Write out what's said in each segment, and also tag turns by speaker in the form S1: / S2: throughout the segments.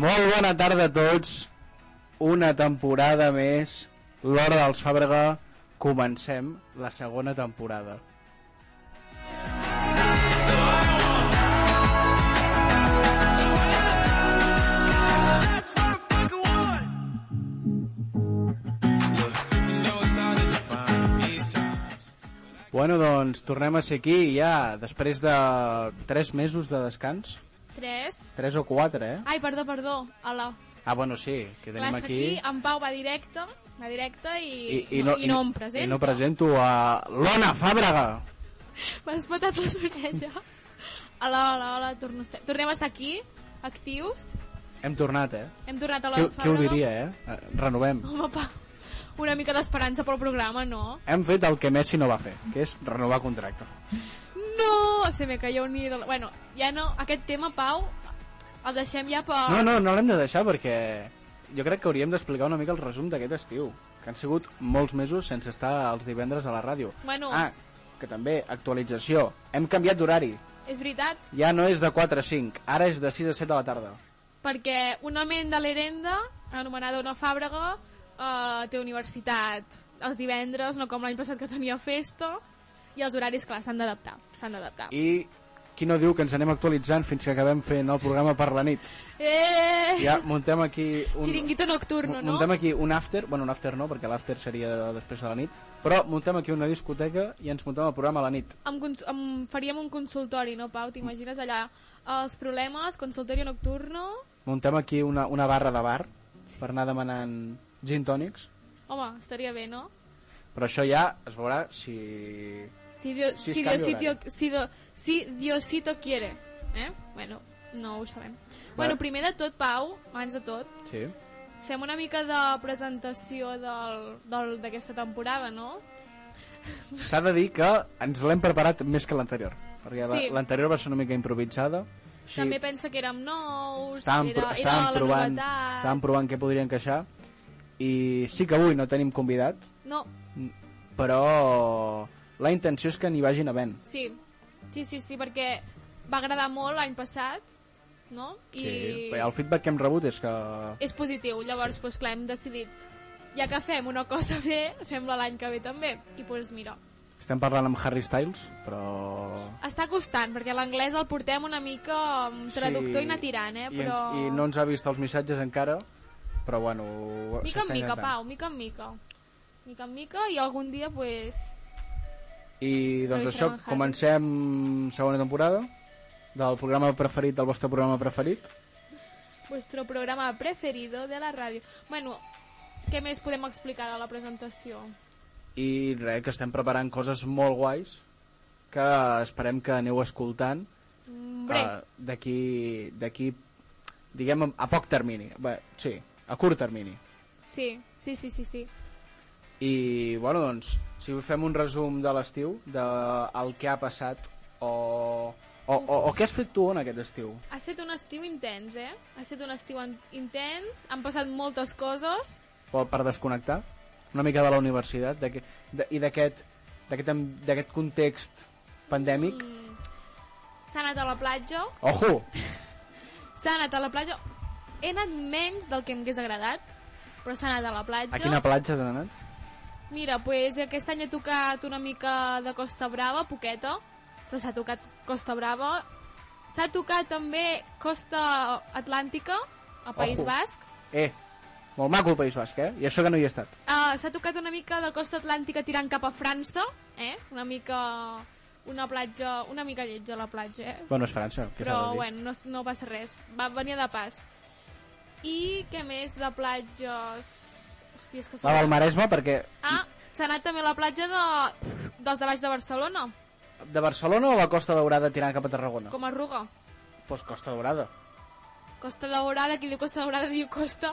S1: bona tarda a tots. Una temporada més. L'Hora dels Fàbrega. Comencem la segona temporada. Bueno, doncs, tornem a ser aquí ja, després de 3 mesos de descans.
S2: 3.
S1: 3 o 4, eh?
S2: Ai, perdó, perdó. Hola.
S1: Ah, bueno, sí, que
S2: Clar,
S1: tenim
S2: és que
S1: aquí...
S2: aquí en Pau va directe, va directe i,
S1: I, i, no,
S2: i no em presenta.
S1: I no presento a l'Ona Fàbrega.
S2: M'ha espetat les orelles. Hola, hola, hola, torno a estar... tornem a estar aquí, actius.
S1: Hem tornat, eh?
S2: Hem tornat a
S1: Qui,
S2: la
S1: qui ho diria, eh? Eh, Renovem.
S2: Home, Pau, una mica d'esperança pel programa, no?
S1: Hem fet el que Messi no va fer, que és renovar contracte.
S2: No, se me cayó un ídolo. Bueno, ja no, aquest tema, Pau, el deixem ja per...
S1: No, no, no l'hem de deixar perquè jo crec que hauríem d'explicar una mica el resum d'aquest estiu, que han sigut molts mesos sense estar els divendres a la ràdio.
S2: Bueno.
S1: Ah, que també, actualització. Hem canviat d'horari.
S2: És veritat,
S1: Ja no és de 4 a 5, ara és de 6 a 7 de la tarda.
S2: perquè una ment de l'Herenda, anomenada Ona Fàbrega, eh, té universitat els divendres, no com l'any passat que tenia festa, i els horaris, clar, s'han d'adaptar, s'han d'adaptar. I...
S1: I qui no diu que ens anem actualitzant fins que acabem fent el programa per la nit?
S2: Eh!
S1: Ja muntem aquí un...
S2: Chiringuito nocturno,
S1: Mu-
S2: no?
S1: Muntem aquí un after, bueno, un after no, perquè l'after seria després de la nit, però muntem aquí una discoteca i ens muntem el programa a la nit.
S2: Em, cons- em faríem un consultori, no, Pau? T'imagines allà els problemes, consultori nocturno...
S1: Muntem aquí una, una barra de bar per anar demanant gin tònics,
S2: Home, estaria bé, no?
S1: però això ja es veurà si...
S2: Si, Dio,
S1: Si
S2: si,
S1: es
S2: si,
S1: canvia
S2: Diosito,
S1: horari.
S2: si, do, si Diosito quiere. Eh? Bueno, no ho sabem. Bueno, primer de tot, Pau, abans de tot,
S1: Sí.
S2: Fem una mica de presentació del- del- d'aquesta temporada, no?
S1: S'ha de dir que ens l'hem preparat més que l'anterior, perquè la-
S2: Sí.
S1: l'anterior va ser una mica improvisada.
S2: Sí. També pensa que érem nous,
S1: estàvem,
S2: era,
S1: pro-
S2: era
S1: estàvem,
S2: la
S1: provant,
S2: novetat...
S1: estàvem provant què podria encaixar i sí que avui no tenim convidat,
S2: No,
S1: però la intenció és que n'hi vagin havent.
S2: sí. sí, sí, sí, perquè va agradar molt l'any passat, no? I
S1: Sí, bé, el feedback que hem rebut és que...
S2: és positiu, llavors, sí. doncs, clar, hem decidit ja que fem una cosa bé, fem-la l'any que ve també. I doncs mira,
S1: Estem parlant amb Harry Styles, però...
S2: està costant, perquè l'anglès el portem una mica amb traductor
S1: Sí,
S2: i anar tirant, eh?
S1: i-
S2: Però...
S1: I, no ens ha vist els missatges encara, però bueno... ho-
S2: Mica en
S1: s'està
S2: mica,
S1: intentant.
S2: Pau, mica en mica. Mica en mica i algun dia, pues...
S1: I doncs
S2: Però hi
S1: això,
S2: serà en Harry.
S1: comencem segona temporada del programa preferit, del vostre programa preferit.
S2: Vuestro programa preferido de la ràdio. Bueno, què més podem explicar de la presentació?
S1: I res, que estem preparant coses molt guais que esperem que aneu escoltant
S2: Mm, Bé,
S1: eh, d'aquí, d'aquí, diguem, a poc termini. Bé, sí, a curt termini.
S2: sí, sí, sí, sí, sí.
S1: I, bueno, doncs, si fem un resum de l'estiu, de el que ha passat, o, o, o, o què has fet tu en aquest estiu?
S2: Ha estat un estiu intens, eh? Ha estat un estiu en- intens, han passat moltes coses.
S1: Per, per desconnectar? Una mica de la universitat d'aquest- de, i d'aquest d'aquest am- d'aquest context pandèmic?
S2: Mm. S'ha anat a la platja,
S1: Ojo!
S2: s'ha anat a la platja... He anat menys del que m'hagués agradat, però s'ha anat a la platja.
S1: A quina platja has anat?
S2: Mira, pues aquest any he tocat una mica de Costa Brava, poqueta, però s'ha tocat Costa Brava. S'ha tocat també Costa Atlàntica, a País
S1: Ojo.
S2: Basc.
S1: Eh, molt maco el País Basc, eh? I això que no hi he estat.
S2: Uh, s'ha tocat una mica de Costa Atlàntica tirant cap a França, eh? Una mica... Una platja... Una mica lletja la platja, eh?
S1: Bueno, és França, què s'ha de
S2: Però,
S1: dir?
S2: bueno, no, no passa res. Va venir de pas. I què més de platges... Hòstia, és que
S1: La del Maresme, perquè
S2: Ah, s'ha anat també a la platja de... dels de baix de Barcelona.
S1: de Barcelona o la Costa Daurada tirant cap a Tarragona?
S2: Com a arruga.
S1: Doncs pues Costa Daurada.
S2: Costa Daurada, qui diu Costa Daurada diu Costa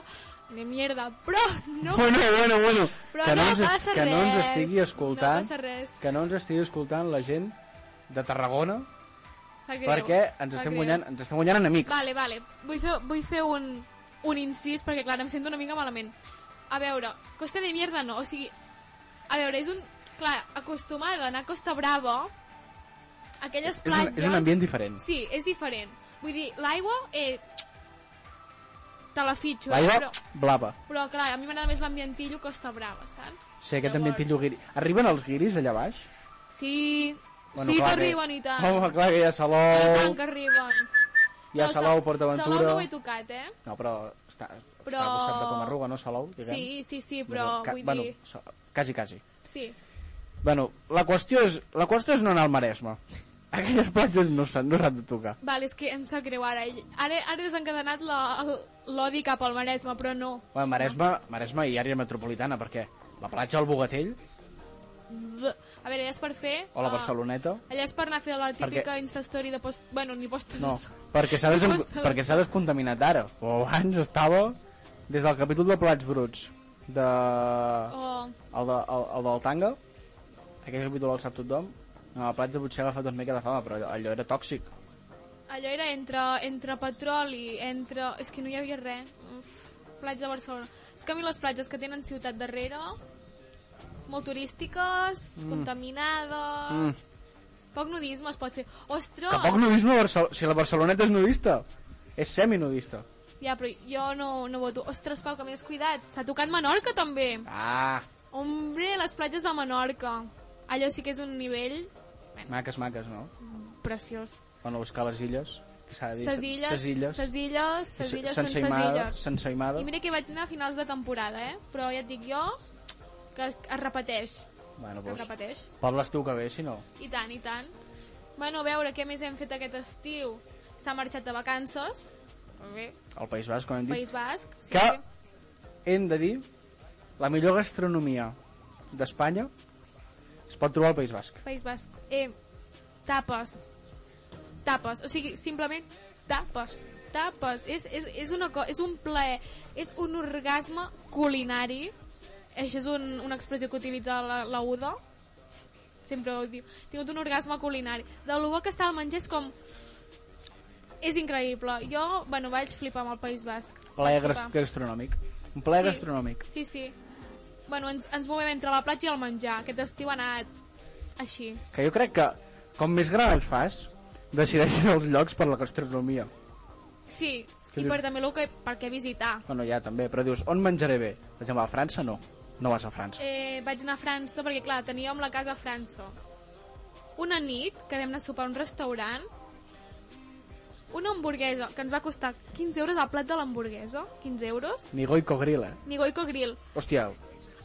S2: de mierda. Però no,
S1: Bueno, bueno, bueno.
S2: però
S1: que
S2: no,
S1: no ens, es-
S2: passa
S1: que
S2: res.
S1: no ens estigui
S2: No
S1: escoltant,
S2: passa res.
S1: que no ens estigui escoltant la gent de Tarragona,
S2: Sap greu.
S1: perquè ens
S2: sap
S1: estem
S2: greu.
S1: guanyant, ens estem guanyant enemics.
S2: Vale, vale. Vull fer, vull fer un, un incís, perquè clar, em sento una mica malament. A veure, Costa de mierda no, o sigui... A veure, és un... Clar, acostumada a anar a Costa Brava, aquelles
S1: és, un,
S2: platges...
S1: és un ambient diferent.
S2: Sí, és diferent. Vull dir, l'aigua eh, te la fitxo, eh?
S1: L'aigua
S2: però,
S1: blava.
S2: però clar, a mi m'agrada més l'ambientillo Costa Brava, saps?
S1: Sí, aquest també pillo guiri. Arriben els guiris allà baix?
S2: Sí,
S1: Bueno,
S2: sí
S1: clar
S2: que
S1: que-
S2: arriben i tant.
S1: Home, clar que hi ha
S2: I tant
S1: Salou,
S2: que arriben.
S1: hi ha
S2: No,
S1: Salou,
S2: Sa-
S1: PortAventura...
S2: Salou no ho he tocat, eh?
S1: No, però està,
S2: Però-
S1: està al costat de Comarruga, no, Salou? Diguem.
S2: Sí, sí, sí, però
S1: Ca-
S2: vull
S1: bueno,
S2: dir...
S1: so- Quasi, quasi.
S2: Sí.
S1: Bueno, la qüestió és, la qüestió és no anar al Maresme. Aquelles platges no s'han no s'han de tocar.
S2: Val, és que em sap greu ara. Ara, ara he desencadenat la- el- l'odi cap al Maresme, però no.
S1: Bueno, Maresme, Maresme i àrea metropolitana, perquè la platja al Bogatell
S2: V- A veure, allà és per fer...
S1: o la
S2: ah,
S1: Barceloneta...
S2: Allà és per anar a fer la típica
S1: Perquè-
S2: instastory de post... Bueno, ni post...
S1: No, perquè s'ha des...
S2: Costa.
S1: perquè s'ha descontaminat ara. O abans estava des del capítol de Plats Bruts, de...
S2: O...
S1: el, de, el, el del Tanga, aquell capítol el sap tothom, no, la platja potser ha agafat una mica de fama, però allò, allò era tòxic.
S2: Allò era entre, entre petroli, entre... És que no hi havia res. Uf, platja de Barcelona. És que a mi les platges que tenen ciutat darrere, molt turístiques, mm. contaminades... Mm. Poc nudisme es pot fer. Ostres!
S1: Tampoc nudisme, a Barcel si la Barceloneta és nudista, és seminudista.
S2: Ja, però jo no, no voto. Ostres, Pau, que m'he descuidat. S'ha tocat Menorca, també.
S1: Ah,
S2: Hombre, les platges de Menorca. Allò sí que és un nivell
S1: maques, maques, no?
S2: preciós.
S1: Bueno, buscar les illes, que s'ha de dir.
S2: Ses illes,
S1: Ses illes.
S2: ses illes, ses illes, són ses
S1: Aimada,
S2: illes.
S1: sense Aimada.
S2: I mira que hi vaig anar a finals de temporada, eh? Però ja et dic jo que es es repeteix.
S1: Bueno,
S2: Que es
S1: doncs,
S2: repeteix.
S1: per l'estiu que ve, si no.
S2: I tant, i tant. Bueno, a veure, què més hem fet aquest estiu? S'ha marxat de vacances. Bé,
S1: Al País Basc, com hem dit.
S2: País Basc. Sí,
S1: que
S2: sí.
S1: hem de dir la millor gastronomia d'Espanya es pot trobar al País Basc.
S2: País Basc. Eh, tapes. Tapes. O sigui, simplement tapes. Tapes. És, és, és, una co és un plaer. És un orgasme culinari. Això és un, una expressió que utilitza la, la Uda. Sempre ho diu. He tingut un orgasme culinari. De lo bo que està el menjar és com... És increïble. Jo, bueno, vaig flipar amb el País Basc.
S1: Plaer
S2: Vaig
S1: gras-
S2: flipar.
S1: gastronòmic. Un plaer
S2: Sí.
S1: gastronòmic.
S2: Sí, sí. Bueno, ens, ens movem entre la platja i el menjar. Aquest estiu ha anat així.
S1: Que jo crec que, com més gran et fas, decideixes els llocs per la gastronomia.
S2: Sí,
S1: Què
S2: i
S1: dius?
S2: per també el que, per què visitar.
S1: Bueno, ja també, però dius, on menjaré bé? Per exemple, a França no. No vas a França.
S2: Eh, vaig anar a França perquè, clar, teníem la casa a França. Una nit que vam anar a sopar a un restaurant, una hamburguesa que ens va costar 15 euros al plat de l'hamburguesa, 15 euros,
S1: Ni Goico Grill, eh?
S2: ni Goico Grill.
S1: Hòstia,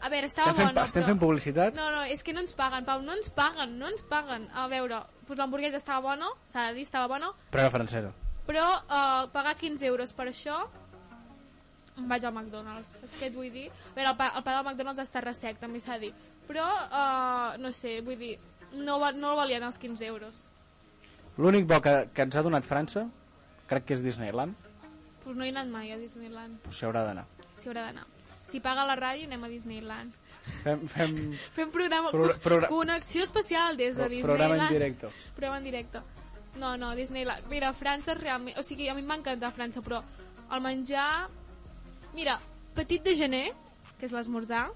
S2: A veure, estava
S1: estem fent,
S2: bona,
S1: estem
S2: però...
S1: fent publicitat?
S2: No, no, és que no ens paguen, Pau, no ens paguen, no ens paguen. A veure, doncs l'hamburguesa estava bona, s'ha de dir, estava bona,
S1: Però era francesa.
S2: Però eh, pagar 15 euros per això em vaig al McDonald's, saps què et vull dir? A veure, el pa, el pa del McDonald's està ressec, també s'ha dit. Però, eh, no sé, vull dir, no, va- no valien els 15 euros.
S1: L'únic bo que, que ens ha donat França, crec que és Disneyland,
S2: Pues no he anat mai a Disneyland,
S1: s'hi haurà d'anar.
S2: s'hi haurà d'anar. Si paga la ràdio, anem a Disneyland.
S1: Fem, fem
S2: Fem programa,
S1: Progra- progra-
S2: connexió especial des de
S1: pro,
S2: Disneyland.
S1: programa en directe.
S2: Programa en directe. No, no, Disneyland. Mira, França realment... O sigui, a mi m'encanta França, però el menjar... Mira, petit de gener, que és l'esmorzar,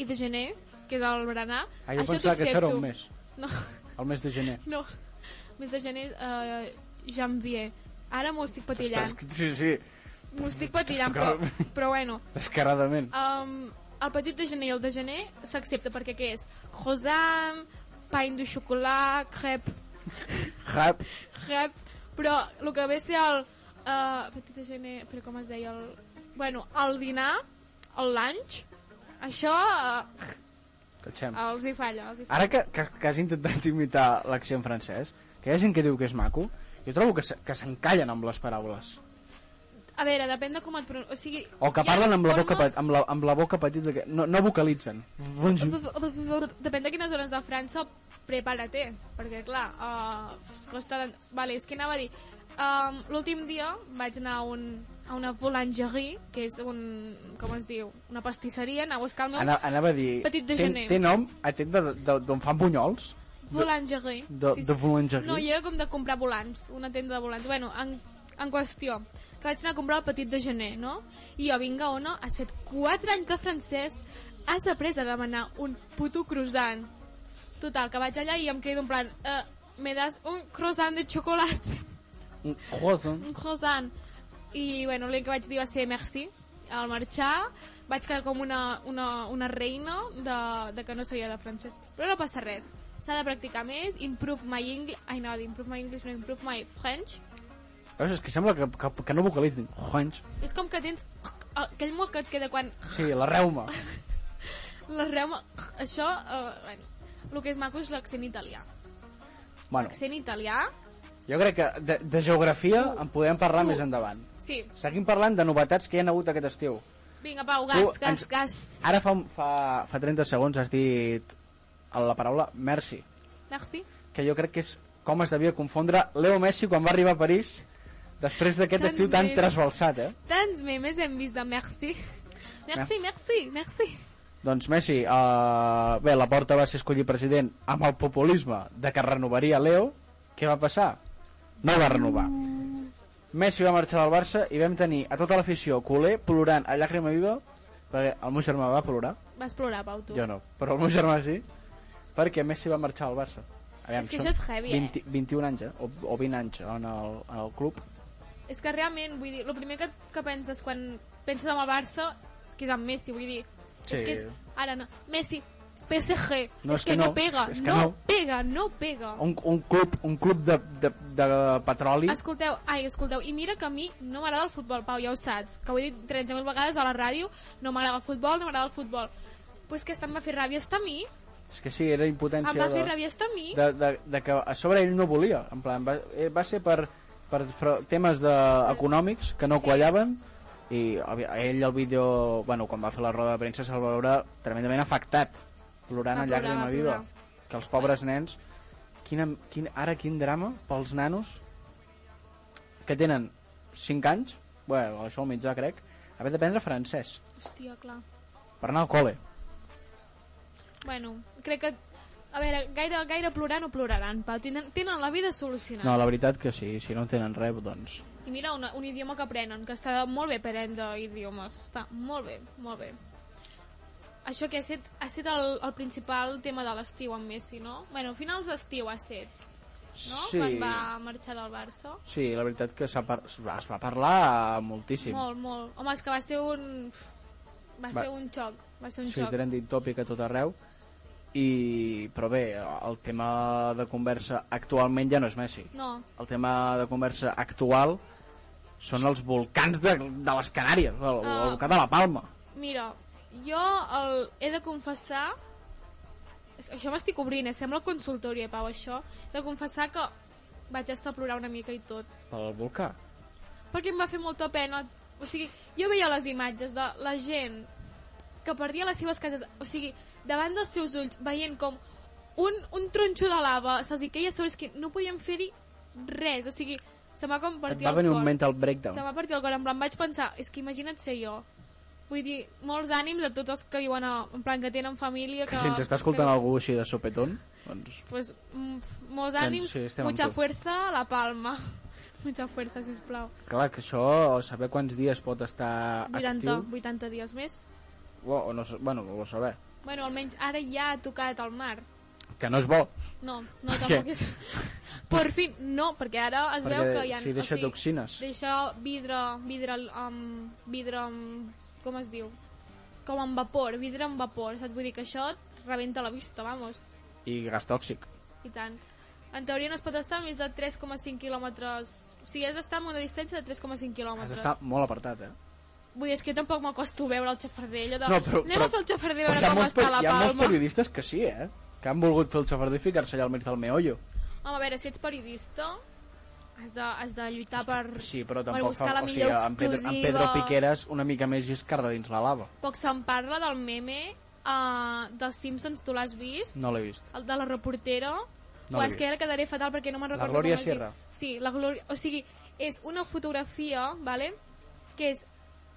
S2: i de gener, que és el berenar.
S1: Ah, jo pensava
S2: t'ho
S1: que això era
S2: accepto.
S1: un mes.
S2: No,
S1: El mes de gener.
S2: no. Més de gener, eh, janvier. Ara m'ho estic
S1: Però
S2: patillant.
S1: és que- Sí, sí,
S2: M'ho estic patillant,
S1: Clar.
S2: però, però bueno.
S1: descaradament.
S2: Um, el petit de gener i el de gener s'accepta perquè què és? Croissant, pain de xocolat, crepe,
S1: Hap,
S2: Hep, però el que ve a ser el... Uh, petit gener, però com es deia? El, bueno, el dinar, el lunch, això uh,
S1: tatxem.
S2: els hi falla. Els hi falla.
S1: Ara que, que, que has intentat imitar l'accent francès, que hi ha gent que diu que és maco, jo trobo que se- que s'encallen amb les paraules.
S2: A veure, depèn de com et pronunciïs. O, sigui,
S1: O que
S2: hi ha
S1: parlen amb la boca,
S2: formes-
S1: pe- amb la, amb la boca petita, que no, no vocalitzen. Bonjour.
S2: Depèn de quines zones de França, prepara-te, perquè clar, uh, costa de... Vale, és que anava a dir, um, l'últim dia vaig anar a, un, a una boulangerie, que és un, com es diu, una pastisseria, anar a buscar el meu
S1: Ana, anava a dir...
S2: Petit de
S1: té,
S2: gener.
S1: té nom, atén d'on fan bunyols,
S2: boulangerie.
S1: de, de boulangerie.
S2: No, jo era com de comprar volants, una tenda de volants. Bueno, en, en qüestió, que vaig anar a comprar el petit de gener, no? I jo, vinga o no, has fet 4 anys de francès, has après a demanar un puto croissant. Total, que vaig allà i em quedo en plan, eh, me das un croissant de xocolata,
S1: Un croissant.
S2: un croissant. i bueno, l'únic que vaig dir va ser merci al marxar vaig quedar com una, una, una reina de, de que no sabia de francès però no passa res, s'ha de practicar més improve my English ai no, improve my English no, improve my French
S1: Veus, és que sembla que, que, que no vocalitzin. Juanx.
S2: és com que tens aquell moc que et queda quan
S1: Sí, la reuma.
S2: la reuma això, eh, bueno, el que és maco és l'accent italià
S1: Bueno,
S2: l'accent italià,
S1: jo crec que de, de geografia en podem parlar
S2: Tu.
S1: més endavant.
S2: sí
S1: Seguim parlant de novetats que hi ha hagut aquest estiu.
S2: vinga Pau,
S1: Tu
S2: gas, gas,
S1: ens-
S2: gas
S1: Ara fa, un- fa, fa 30 segons has dit la paraula merci,
S2: merci
S1: que jo crec que és com es devia confondre Leo Messi quan va arribar a París després d'aquest
S2: Tants
S1: estiu tan
S2: memes.
S1: trasbalsat, eh?
S2: tants memes hem vist de merci merci, merci, merci
S1: Doncs Messi, uh, bé, la porta va ser escollir president amb el populisme de que renovaria Leo. Què va passar? No va renovar. Messi va marxar del Barça i vam tenir a tota l'afició culer plorant a llàgrima viva, perquè el meu germà va plorar,
S2: vas plorar Pau, tu
S1: jo no, però el meu germà sí, perquè Messi va marxar del Barça. Aviam,
S2: És que
S1: són
S2: això és heavy, eh?
S1: 20, 21 anys, eh? o, o 20 anys en el, en el club.
S2: És que realment, vull dir, el primer que, que penses quan penses en el Barça és que és en Messi, vull dir.
S1: Sí.
S2: És que és, ara no, Messi, PSG,
S1: No,
S2: és, que, no pega,
S1: és que
S2: no,
S1: no.
S2: pega, no pega.
S1: Un, un club, un club de, de, de petroli.
S2: Escolteu, ai, escolteu, i mira que a mi no m'agrada el futbol, Pau, ja ho saps, que ho he dit 30.000 vegades a la ràdio, no m'agrada el futbol, no m'agrada el futbol. Pues que està em va fer ràbia estar a mi,
S1: És que sí, era
S2: em
S1: impotència.
S2: va fer
S1: de...
S2: ràbia estar a mi,
S1: de, de, de que a sobre ell no volia en plan, va, eh, va ser per, per fro- temes de, econòmics que no
S2: Sí.
S1: quallaven i avi- ell el vídeo, bueno, quan va fer la roda de premsa se'l va veure tremendament afectat plorant
S2: Va
S1: a
S2: plorar,
S1: llàgrima
S2: va
S1: viva
S2: plorar.
S1: que els pobres nens quina, quin, ara quin drama pels nanos que tenen 5 anys bueno, això al mitjà crec haver d'aprendre francès
S2: hòstia, clar.
S1: per anar al col·le
S2: Bueno, crec que, a veure, gaire, gaire plorar no ploraran, Pau, tenen, tenen la vida solucionada.
S1: no, la veritat que sí, si no en tenen res doncs
S2: I mira, una, un idioma que aprenen, que està molt bé aprendre idiomes. Està molt bé, molt bé. Això que ha estat, ha estat el, el principal tema de l'estiu amb Messi, no? Bueno, finals d'estiu ha estat, no?
S1: sí.
S2: Quan va marxar del Barça.
S1: Sí, la veritat que s'ha par... es va es va parlar moltíssim.
S2: Molt, molt. Home, és que va ser un... Va,
S1: Va-
S2: ser un xoc. Va ser un
S1: sí,
S2: xoc.
S1: trending topic a tot arreu. I... Però bé, el tema de conversa actualment ja no és Messi.
S2: No,
S1: El tema de conversa actual són els volcans de, de les Canàries, el,
S2: Ah.
S1: el volcà de la Palma.
S2: mira, jo el, he de confessar... és- Això m'estic obrint, eh? Sembla consultoria, Pau, això. He de confessar que vaig estar a plorar una mica i tot.
S1: Pel volcà.
S2: perquè em va fer molta pena. O sigui, jo veia les imatges de la gent que perdia les seves cases, o sigui, davant dels seus ulls, veient com un, un tronxo de lava se'ls hi queia a sobre, és que no podien fer-hi res, o sigui, se m'ha com
S1: Et
S2: partir
S1: va
S2: el
S1: venir
S2: cor.
S1: un mental
S2: Se
S1: breakdown.
S2: m'ha partit el cor, en plan, vaig pensar, és que imagina't ser jo. Vull dir, molts ànims a tots els que viuen, a, en plan, que tenen família, que...
S1: Que si ens està escoltant algú així de sopetón, doncs...
S2: Pues, mm, f- molts
S1: Doncs
S2: ànims,
S1: sí, estem amb
S2: mucha
S1: tu.
S2: fuerza, la palma. mucha fuerza, sisplau.
S1: Clar, que això, saber quants dies pot estar
S2: 80,
S1: actiu...
S2: 80 dies més.
S1: O, o no, s- bueno, ho saber.
S2: Bueno, almenys ara ja ha tocat el mar.
S1: Que no és bo.
S2: No, no
S1: Per
S2: tampoc
S1: què?
S2: és... Per fi, no, perquè ara es
S1: Perquè
S2: veu que hi ha...
S1: si deixa
S2: o sigui,
S1: toxines.
S2: Deixa vidre, vidre, um, vidre, amb... com es diu? Com amb vapor, vidre amb vapor, saps? Vull dir que això et rebenta la vista, vamos,
S1: I gas tòxic.
S2: i tant. En teoria no es pot estar a més de 3,5 quilòmetres... O sigui, has d'estar a una distància de 3,5
S1: Has
S2: quilòmetres.
S1: d'estar molt apartat, eh?
S2: Vull dir, és que jo tampoc m'acosto a veure el xafarder, allò de...
S1: No, però-
S2: Anem
S1: però-
S2: a fer el xafarder a
S1: Però hi
S2: veure
S1: ha,
S2: com
S1: molts,
S2: està
S1: pe-
S2: la
S1: hi ha molts
S2: palma.
S1: periodistes que sí, eh? Que han volgut fer el xafarder i ficar-se allà al mig del meollo.
S2: Home, a veure, si ets periodista, has de, has de lluitar per...
S1: Sí, però
S2: Per
S1: tampoc...
S2: buscar la
S1: o sigui,
S2: millor
S1: en Pedro, en
S2: exclusiva.
S1: Pedro Piqueras una mica més lliscarda dins la lava.
S2: Poc se'n parla del meme uh, dels Simpsons, tu l'has vist?
S1: No l'he vist.
S2: El de la reportera?
S1: No
S2: No
S1: l'he
S2: és que ara quedaré fatal perquè no me'n
S1: La
S2: recordo
S1: Glòria
S2: com es diu.
S1: Sierra.
S2: Sí, la Glòria... O sigui, és una fotografia, vale? que és,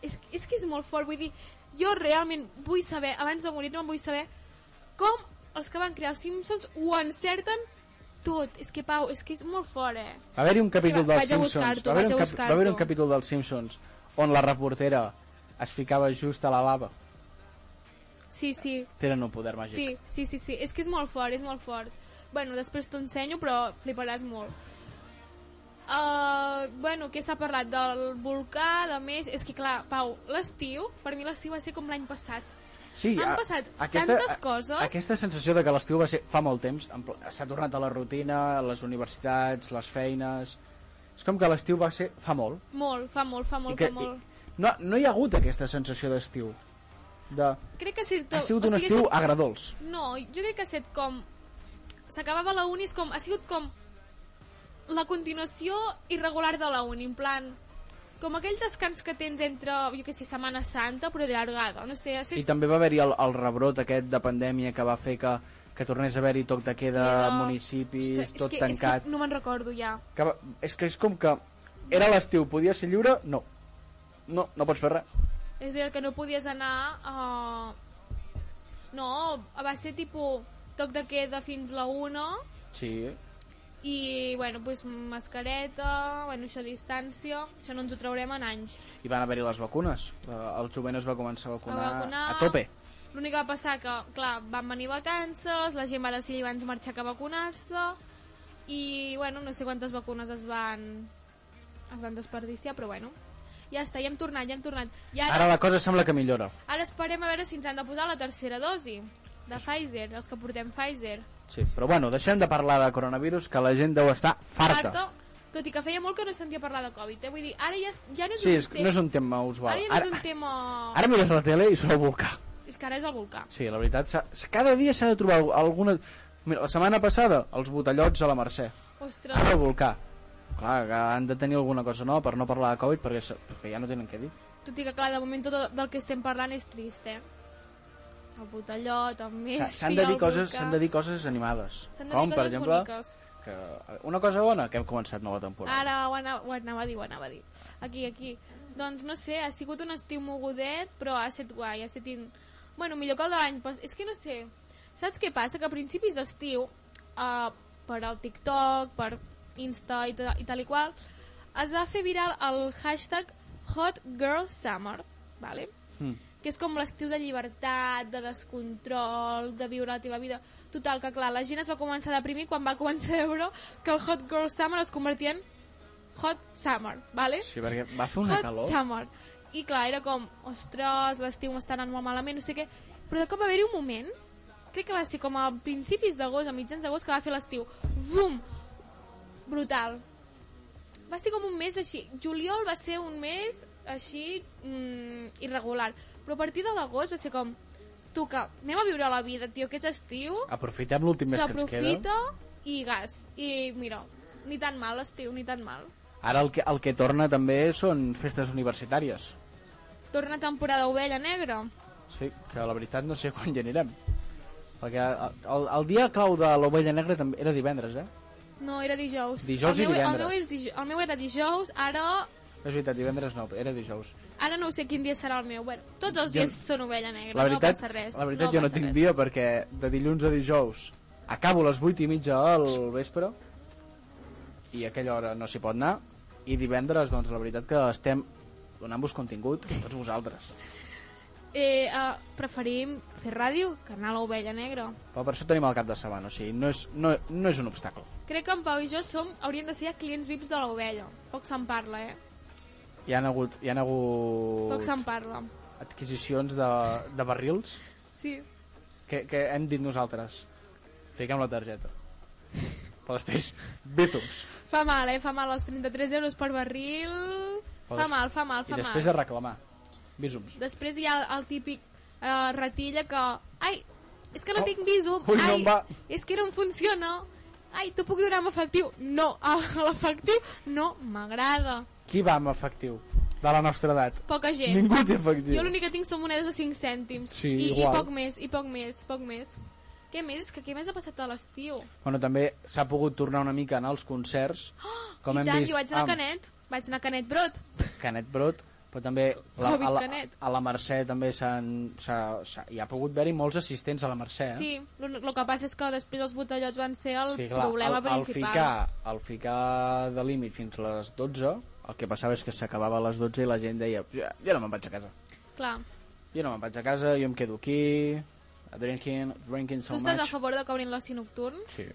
S2: és, és que és molt fort, vull dir, jo realment vull saber, abans de morir-me vull saber com els que van crear els Simpsons ho encerten tot. És que, Pau, és que és molt fort, eh?
S1: Va haver-hi un capítol
S2: va-
S1: dels
S2: vaig a
S1: Simpsons...
S2: buscar-t'ho,
S1: va haver-hi
S2: vaig
S1: un,
S2: a
S1: cap- va haver un
S2: buscar-t'ho.
S1: capítol dels Simpsons on la reportera es ficava just a la lava.
S2: Sí, sí.
S1: Tenen un poder màgic.
S2: Sí, sí, sí, sí. És que és molt fort, és molt fort. Bueno, després t'ho ensenyo, però fliparàs molt. Uh, bueno, què s'ha parlat? Del volcà, de més... És que, clar, Pau, l'estiu, per mi l'estiu va ser com l'any passat.
S1: Sí,
S2: Han
S1: a-
S2: passat tantes coses.
S1: Aquesta sensació de que l'estiu va ser fa molt temps, en pla- s'ha tornat a la rutina, a les universitats, les feines... És com que l'estiu va ser fa molt.
S2: Molt, fa molt, fa molt,
S1: I que,
S2: fa molt.
S1: I, no, no hi ha hagut aquesta sensació d'estiu. De,
S2: Crec que ha sigut...
S1: ha sigut un
S2: o sigui,
S1: estiu
S2: ha sigut-
S1: agradolç.
S2: No, jo crec que ha sigut com... S'acabava la uni, és com... Ha sigut com la continuació irregular de la uni, en plan... Com aquell descans que tens entre, jo què sé, Setmana Santa, però de llargada, no sé, ha
S1: I
S2: sigut...
S1: també va haver-hi el, el rebrot aquest de pandèmia que va fer que, que tornés a haver-hi toc de queda,
S2: Queda-
S1: municipis,
S2: Ostres, és
S1: tot
S2: que,
S1: tancat.
S2: És que no me'n recordo ja.
S1: Que va, és que és com que era l'estiu, podia ser lliure? No. No, no pots fer res.
S2: És veritat que no podies anar... Uh... No, va ser tipus toc de queda fins la 1
S1: Sí.
S2: i, bueno, pues, mascareta, bueno, això a distància, això no ens ho traurem en anys.
S1: I van haver-hi les vacunes. Eh, El jovent es va començar a vacunar,
S2: vacunar.
S1: a tope.
S2: L'únic que va passar que, clar, van venir vacances, la gent va decidir abans marxar que vacunar-se i, bueno, no sé quantes vacunes es van, es van desperdiciar, però bueno, ja està, ja hem tornat, ja hem tornat. I ara,
S1: Ara la cosa sembla que millora.
S2: ara esperem a veure si ens han de posar la tercera dosi de Pfizer, els que portem Pfizer.
S1: Sí, però bueno, deixem de parlar de coronavirus, que la gent deu estar farta.
S2: Marta, tot i que feia molt que no sentia parlar de Covid, eh? Vull dir, ara ja, és, ja no és
S1: Sí,
S2: un
S1: és,
S2: tema...
S1: no és un tema usual.
S2: Ara ja no és
S1: Ara,
S2: un tema...
S1: ara mires la tele i surt el volcà.
S2: És que ara és el volcà.
S1: Sí, la veritat, s'ha- s'ha- cada dia s'ha de trobar alguna... Mira, la setmana passada, els botellots a la Mercè.
S2: Ostres,
S1: Ara el volcà. Clar, que han de tenir alguna cosa nova per no parlar de Covid, perquè, s- perquè ja no tenen què dir.
S2: tot i que clar, de moment tot el- del que estem parlant és trist, eh? El botellot, el més...
S1: S'ha- S'han de, dir coses, s'han de dir coses animades.
S2: S'han de dir
S1: Com, per
S2: coses
S1: exemple,
S2: boniques.
S1: que una cosa bona, que hem començat nova temporada.
S2: Ara ho anava, ho anava a dir, ho anava a dir. Aquí, aquí. Doncs no sé, ha sigut un estiu mogudet, però ha estat guai, ha estat... In... Bueno, millor que el de l'any passat. És que no sé, saps què passa? Que a principis d'estiu, uh, per al TikTok, per Insta i, ta, i tal i qual, es va fer viral el hashtag Hot Girl Summer, vale?
S1: Mm.
S2: que és com l'estiu de llibertat, de descontrol, de viure la teva vida. Total, que clar, la gent es va començar a deprimir quan va començar a veure que el Hot Girl Summer es convertia en Hot Summer, vale?
S1: Sí, perquè va fer una
S2: Hot
S1: calor.
S2: Summer. I clar, era com, ostres, l'estiu m'està anant molt malament, no sé què. Però de cop va haver-hi un moment, crec que va ser com a principis d'agost, a mitjans d'agost, que va fer l'estiu. Bum! Brutal. Va ser com un mes així. Juliol va ser un mes així mm, irregular. Però a partir de l'agost va ser com, tu que anem a viure la vida, tio, aquest estiu
S1: Aprofitem l'últim Ah, mes que ens queda.
S2: s'aprofita i gas. I mira, ni tan mal l'estiu, ni tan mal.
S1: Ara el que, el que torna també són festes universitàries.
S2: Torna temporada ovella negra.
S1: Sí, que la veritat no sé quan hi anirem. Perquè el, el dia clau de l'Ovella Negra també era divendres, eh?
S2: No, era dijous.
S1: Dijous
S2: el
S1: i
S2: meu, El
S1: divendres.
S2: meu, és dijous, el meu era dijous, ara...
S1: És veritat, divendres no, era dijous.
S2: Ara no sé quin dia serà el meu. Bueno, tots els
S1: Jo-
S2: dies són ovella negra,
S1: La veritat,
S2: no passa res.
S1: la veritat jo no
S2: passa
S1: tinc
S2: res.
S1: dia perquè de dilluns a dijous acabo a les 8 i mitja al vespre i a aquella hora no s'hi pot anar i divendres, doncs, la veritat que estem donant-vos contingut, tots vosaltres.
S2: Eh, eh, preferim fer ràdio que anar a l'ovella negra.
S1: Però per això tenim el cap de setmana, o sigui, no és, no, no és un obstacle.
S2: Crec que en Pau i jo som, hauríem de ser clients vips de l'ovella. Poc se'n parla, eh?
S1: Hi han hagut, hi han
S2: Poc
S1: hagut
S2: se'n parla.
S1: adquisicions de, de barrils
S2: Sí.
S1: que, que hem dit nosaltres. Fiquem la targeta. Però després, bítums.
S2: Fa mal, eh? Fa mal els 33 euros per barril. Fa
S1: Joder.
S2: mal, fa mal,
S1: I
S2: fa
S1: després
S2: mal.
S1: a reclamar. Bísums.
S2: Després hi ha el, el típic eh, ratilla que... Ai, és que no
S1: Oh,
S2: tinc visum.
S1: ui, no
S2: Ai,
S1: em va.
S2: és que no em funciona. Ai, t'ho puc donar amb efectiu? No, a- l'efectiu no m'agrada.
S1: Qui va amb efectiu? De la nostra edat.
S2: Poca gent.
S1: Ningú té efectiu.
S2: Jo l'únic que tinc són monedes de 5 cèntims.
S1: Sí,
S2: I, I
S1: igual.
S2: poc més, i poc més, poc més. Què més? És que què més ha passat a l'estiu?
S1: Bueno, també s'ha pogut tornar una mica a anar als concerts. Com
S2: Ah, I
S1: hem
S2: tant,
S1: vist Eh?
S2: jo vaig anar
S1: amb
S2: a Canet. Vaig anar a Canet Brot.
S1: Canet Brot, però també la,
S2: Covid
S1: a, la,
S2: Canet.
S1: a la Mercè també s'han... s'ha- s'ha- Hi ha pogut haver-hi molts assistents a la Mercè. eh?
S2: Sí, el que passa és que després els botellots van ser el
S1: sí, clar,
S2: problema
S1: el, El
S2: principal.
S1: ficar, el ficar de límit fins a les 12, el que passava és que s'acabava a les 12 i la gent deia jo, jo no me'n vaig a casa.
S2: Clar.
S1: Jo no me'n vaig a casa, jo em quedo aquí, drinking, drinking
S2: Tu
S1: so
S2: estàs a
S1: much.
S2: favor de que obrin l'oci nocturn?
S1: Sí.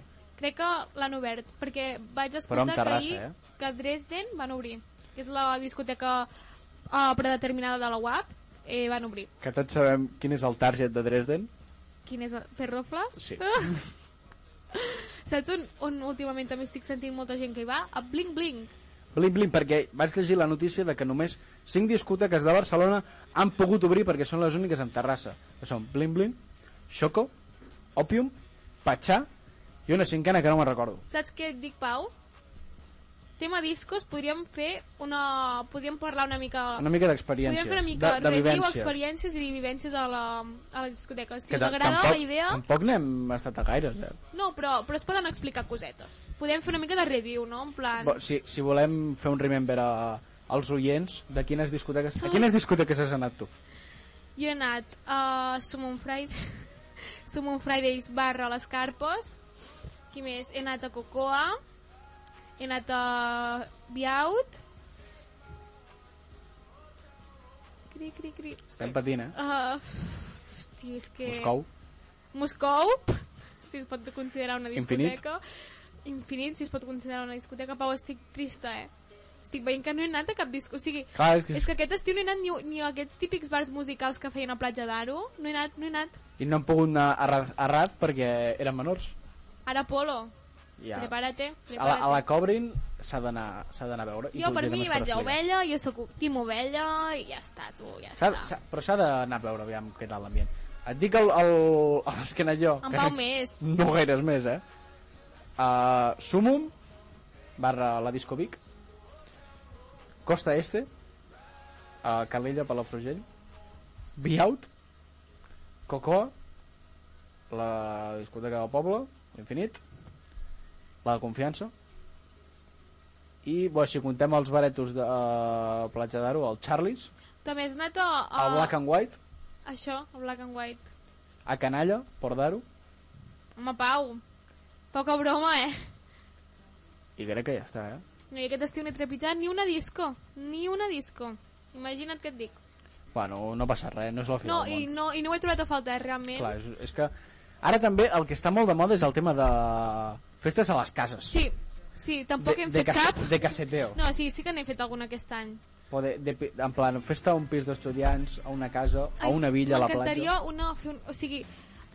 S2: Crec que l'han obert, perquè vaig
S1: Però
S2: escoltar
S1: amb
S2: que
S1: terrassa,
S2: ahir
S1: eh?
S2: que Dresden van obrir, que és la discoteca eh, predeterminada de la UAP, eh, van obrir.
S1: Que tots sabem quin és el target de Dresden.
S2: Quin és? el- Perroflas?
S1: Sí.
S2: Saps on, on últimament també estic sentint molta gent que hi va? A Blink Blink.
S1: Blim, blim, perquè vaig llegir la notícia de que només 5 discoteques de Barcelona han pogut obrir perquè són les úniques amb terrassa. Que són Blim, blim, Xoco, Òpium, Patxà i una cinquena que no me'n recordo.
S2: Saps què et dic, Pau? Tema discos, podríem fer una... Podríem parlar una mica...
S1: Una mica d'experiències.
S2: podríem fer una mica
S1: de, de
S2: review,
S1: vivències.
S2: experiències i vivències a la, a la discoteca. Si
S1: Que
S2: us
S1: ta-
S2: agrada
S1: tampoc,
S2: la idea...
S1: Tampoc n'hem estat a gaires, eh?
S2: No, però, però es poden explicar cosetes. Podem fer una mica de review, no? En plan...
S1: Bo, si, si volem fer un remember a, als oients de quines discoteques...
S2: Ah.
S1: A quines discoteques has anat tu?
S2: Jo he anat a Summon Friday, Summon Fridays barra Les Carpes. Qui més? He anat a Cocoa. He anat a Biaut. Cri, cri, cri.
S1: Estem patint, eh?
S2: Uh, hosti, és que...
S1: Moscou.
S2: Moscou, si es pot considerar una
S1: Infinit.
S2: discoteca. Infinit. Infinit, si es pot considerar una discoteca. Pau, estic trista, eh? Estic veient que no he anat a cap disco. O sigui,
S1: Clar, és que...
S2: és que aquest estiu no he anat ni, ni a aquests típics bars musicals que feien a Platja d'Aro. No he anat, no he anat.
S1: I no hem pogut anar a, Ra- a Rat perquè eren menors.
S2: Ara Polo,
S1: Ja.
S2: prepara't,
S1: A la, a la Cobrin s'ha d'anar s'ha d'anar a veure. i
S2: Jo
S1: t'ho-
S2: per
S1: jo també
S2: mi
S1: t'ho
S2: vaig a
S1: explicaré.
S2: Ovella, jo sóc Tim Ovella i ja està, tu, ja
S1: S'ha-
S2: està.
S1: s'ha- Però s'ha d'anar a veure, aviam, què tal l'ambient. Et dic el, el, a l'esquena jo.
S2: En
S1: que
S2: Pau més.
S1: No gaires més, eh? Uh, Sumum, barra la Disco Vic, Costa Este, uh, Calella, Palafrugell, Biaut, Cocoa, la discoteca del poble, l'infinit, la de confiança, i, bo, si contem els baretos de uh, Platja d'Aro, el Charlies,
S2: També has anat a... a
S1: el Black and White,
S2: Això, a Black and White.
S1: a Canalla, Port d'Aro,
S2: Home, Pau, poca broma, eh?
S1: i crec que ja està, eh?
S2: No, i aquest estiu no he trepitjat ni una disco, ni una disco. Imagina't què et dic.
S1: Bueno, no passa res, no és la fi
S2: No,
S1: del món.
S2: i no, i no ho he trobat a faltar, realment.
S1: Clar, és, és que ara també el que està molt de moda és el tema de festes a les cases.
S2: Sí, sí, tampoc
S1: de,
S2: hem
S1: de,
S2: fet
S1: casa-
S2: cap.
S1: de caseteo.
S2: No, sí, sí que n'he fet alguna aquest any.
S1: O de, de, pi- en plan, festa a un pis d'estudiants, a una casa, a
S2: Ai,
S1: una villa, a la platja.
S2: M'encantaria una... fer Un, o sigui,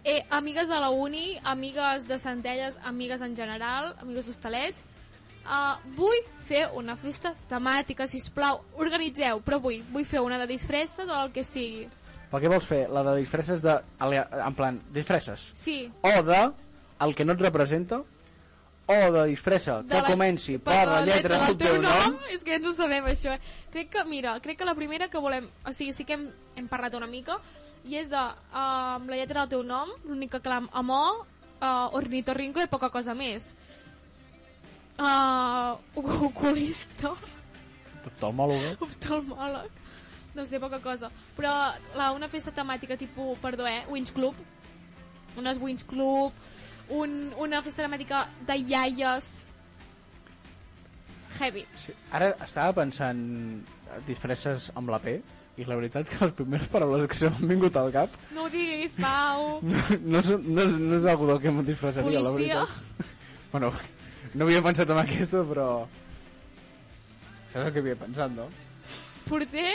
S2: eh, amigues de la uni, amigues de Centelles, amigues en general, amigues d'Hostalets, Uh, vull fer una festa temàtica, si plau, organitzeu, però vull, vull fer una de disfresses o el que sigui.
S1: Però què vols fer? La de disfresses de... alea- En plan, disfresses.
S2: Sí,
S1: O de el que no et representa, o de disfressa
S2: de
S1: que
S2: la-
S1: comenci per la lletra del teu nom.
S2: És que ens ho sabem, això. eh? Crec que, mira, crec que la primera que volem... O sigui, sí que hem, hem parlat una mica, i és de uh, amb la lletra del teu nom, l'única que l'am amor, uh, ornitorrinco i poca cosa més. Uh, oculista,
S1: Oftalmòloga.
S2: oftalmòleg, no sé, eh? poca cosa. Però la, una festa temàtica tipus, perdó, eh, Winch Club, unes Winch Club, un, una festa temàtica de iaies, heavy.
S1: Sí, ara estava pensant eh, disfresses amb la P i la veritat que les primeres paraules que se m'han vingut al cap
S2: No ho diguis, Pau.
S1: no, no, és, no, és, no és algú del que em disfressaria, la
S2: Policia.
S1: veritat. Bueno, no havia pensat en aquesta, però... Això és el que havia pensat, no?
S2: Porter?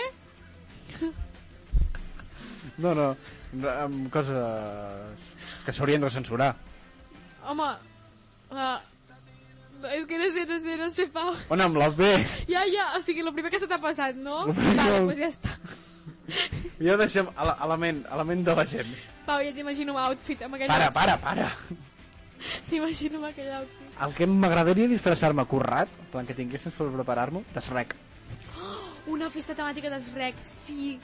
S1: No, no, no, amb coses que s'haurien de censurar.
S2: Home, la... És que no sé, no sé, no sé, Pau.
S1: On amb les B?
S2: Ja, ja, o sigui, el primer que se t'ha passat, no?
S1: El primer
S2: Vale,
S1: que-
S2: doncs ja està.
S1: Ja deixem a la, a la ment, a la ment de la gent.
S2: Pau, ja t'imagino outfit amb aquell
S1: Para,
S2: outfit.
S1: para, para.
S2: T'imagino amb aquell outfit.
S1: El que m'agradaria disfressar-me currat, en plan que tingués temps per preparar-m'ho, d'esrec.
S2: Una festa temàtica dels rec, sí.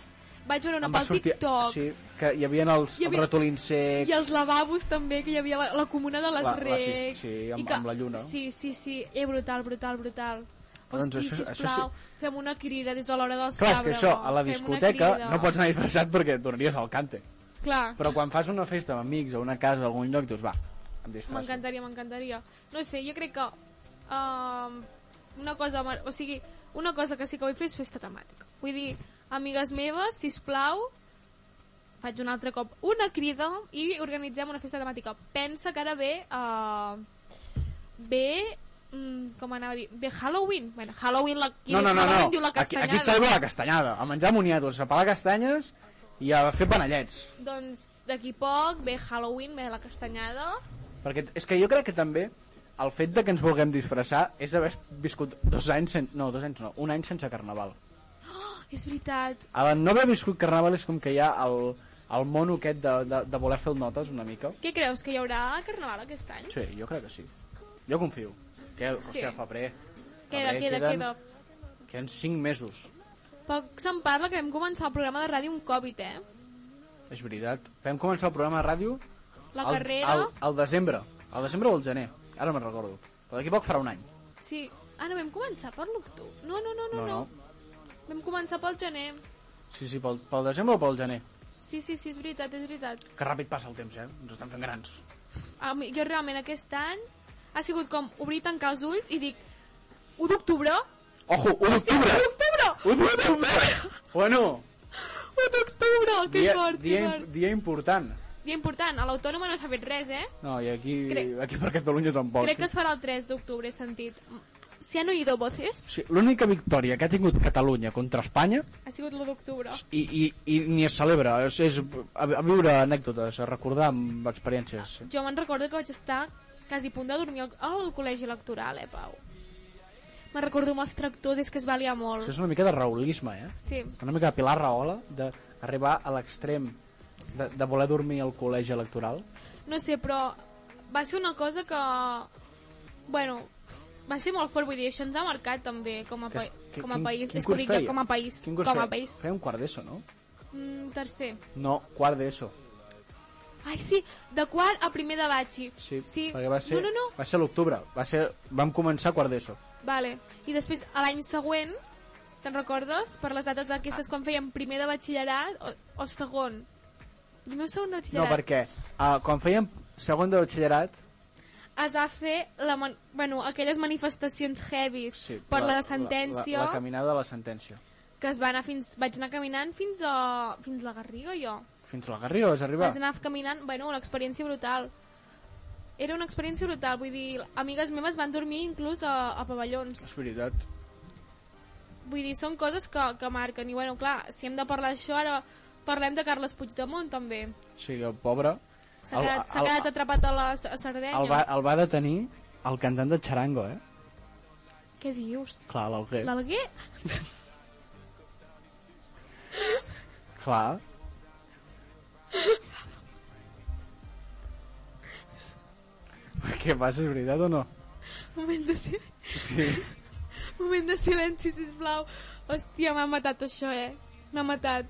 S2: Vaig veure una pel TikTok.
S1: Sí, que hi havia els,
S2: Hi
S1: hi havia...
S2: havia-
S1: els ratolins secs...
S2: I els lavabos també, que hi havia la, la comuna de les
S1: La- la
S2: rec.
S1: sis- sí, amb-
S2: I que,
S1: amb la lluna.
S2: Sí, sí, sí. Eh, brutal, brutal, brutal.
S1: Doncs
S2: Hosti,
S1: això- això
S2: sisplau,
S1: sí.
S2: fem una crida des de l'hora dels
S1: Clar, és que
S2: cabres,
S1: això,
S2: no?
S1: a la
S2: Fem una
S1: discoteca
S2: crida.
S1: no pots anar disfressat perquè et donaries el cante.
S2: Clar.
S1: Però quan fas una festa amb amics o una casa o algun lloc, dius, va, em disfresso.
S2: M'encantaria, m'encantaria. No sé, jo crec que... Um, una cosa... mar- O sigui, una cosa que sí que vull fer és festa temàtica. Vull dir, amigues meves, si plau, faig un altre cop una crida i organitzem una festa temàtica. Pensa que ara ve... Uh, ve... Mm, com anava a dir? Ve Halloween. Bueno, Halloween, la, qui
S1: No, no,
S2: diu
S1: no,
S2: Halloween
S1: no.
S2: diu la
S1: Aquí,
S2: castanyada.
S1: aquí està la castanyada. A menjar moniatos, a pelar castanyes i a fer panellets.
S2: Doncs d'aquí poc ve Halloween, ve la castanyada.
S1: Perquè és que jo crec que també el fet de que ens vulguem disfressar és haver viscut dos anys sen... no, dos anys no, un any sense carnaval.
S2: Oh, És veritat.
S1: A la no haver viscut carnaval és com que hi ha el, el mono aquest de, de, de voler fer el notes una mica.
S2: Què creus, que hi haurà carnaval aquest any?
S1: Sí, jo crec que sí. Jo confio. Que, hòstia,
S2: Sí.
S1: febrer.
S2: Queda,
S1: Febrer,
S2: queda,
S1: queden,
S2: queda.
S1: Queden 5 mesos.
S2: Poc se'n parla que vam començar el programa de ràdio un Covid, eh?
S1: És veritat. Vam començar el programa de ràdio
S2: La
S1: al,
S2: carrera...
S1: al, al desembre. Al desembre o al gener. Ara me'n recordo. Però d'aquí a poc farà un any.
S2: Sí. Ah, no, vam començar per l'octubre. No, no, no, no,
S1: No,
S2: no,
S1: no.
S2: Vam començar pel gener.
S1: Sí, sí, pel, pel desembre o pel gener.
S2: Sí, sí, sí, és veritat, és veritat.
S1: Que ràpid passa el temps, eh? Ens estan fent grans.
S2: A mi, jo realment aquest any ha sigut com obrir i tancar els ulls i dic 1 d'octubre?
S1: Ojo, 1 d'octubre!
S2: 1 d'octubre!
S1: 1 d'octubre! Bueno,
S2: 1 d'octubre! Que
S1: dia,
S2: fort,
S1: dia,
S2: que
S1: im-
S2: fort.
S1: dia important.
S2: Dia important, a l'autònoma no s'ha fet res, eh?
S1: No, i aquí,
S2: Crec-
S1: aquí per Catalunya tampoc.
S2: Crec que es farà el 3 d'octubre, he sentit. Si han oído voces,
S1: O sigui, L'única victòria que ha tingut Catalunya contra Espanya
S2: ha sigut l'1 d'octubre.
S1: i, i, i ni es celebra, és, és a, a viure anècdotes, a recordar amb experiències.
S2: Jo me'n recordo que vaig estar quasi a punt de dormir al, al col·legi electoral, eh, Pau? Me'n recordo amb els tractors, és que es valia
S1: Això
S2: molt.
S1: és una mica de raulisme, eh?
S2: Sí,
S1: Una mica de Pilar Rahola, d'arribar a l'extrem de, de voler dormir al col·legi electoral.
S2: no sé, però va ser una cosa que... Bueno, va ser molt fort, vull dir, això ens ha marcat també com a, pa
S1: que-
S2: com a
S1: quin-
S2: país.
S1: quin
S2: És que ho
S1: curs
S2: dic jo,
S1: feia?
S2: com a país.
S1: Quin curs
S2: Com a
S1: feia?
S2: país.
S1: Feia un quart d'ESO, no?
S2: Mm, tercer.
S1: No, quart d'ESO.
S2: Ai, sí, de quart a primer de batxi.
S1: Sí,
S2: sí.
S1: perquè va ser,
S2: No, no, no,
S1: va ser a l'octubre. Va ser, vam començar quart d'ESO.
S2: Vale. I després, a l'any següent, te'n recordes? Per les dates
S1: Ah.
S2: aquestes, quan fèiem primer de batxillerat o, o segon? Primer o segon de
S1: No,
S2: batxillerat?
S1: perquè uh, quan fèiem segon de batxillerat,
S2: Es va fer la man... bueno, aquelles manifestacions heavies
S1: sí,
S2: per la,
S1: la
S2: sentència,
S1: La, la, la caminada de la sentència.
S2: que es va anar fins... vaig anar caminant fins a... fins la Garriga, jo.
S1: Fins a la Garriga vas arribar?
S2: Vaig anar caminant, bueno, una experiència brutal. Era una experiència brutal, vull dir, amigues meves van dormir inclús a, a pavellons.
S1: És veritat.
S2: Vull dir, són coses que, que marquen. I bueno, clar, si hem de parlar d'això, ara parlem de Carles Puigdemont, també.
S1: Sí, el pobre.
S2: S'ha quedat, s'ha quedat eh? atrapat a la S- a Sardenya.
S1: el, va, el va detenir el cantant de Charango, eh?
S2: Què dius?
S1: Clar, l'Alguer.
S2: L'Alguer?
S1: Clar. Què passa, és veritat o no?
S2: Moment de, sil...
S1: Sí.
S2: Moment de silenci, sisplau. Hòstia, m'ha matat això, eh? M'ha matat.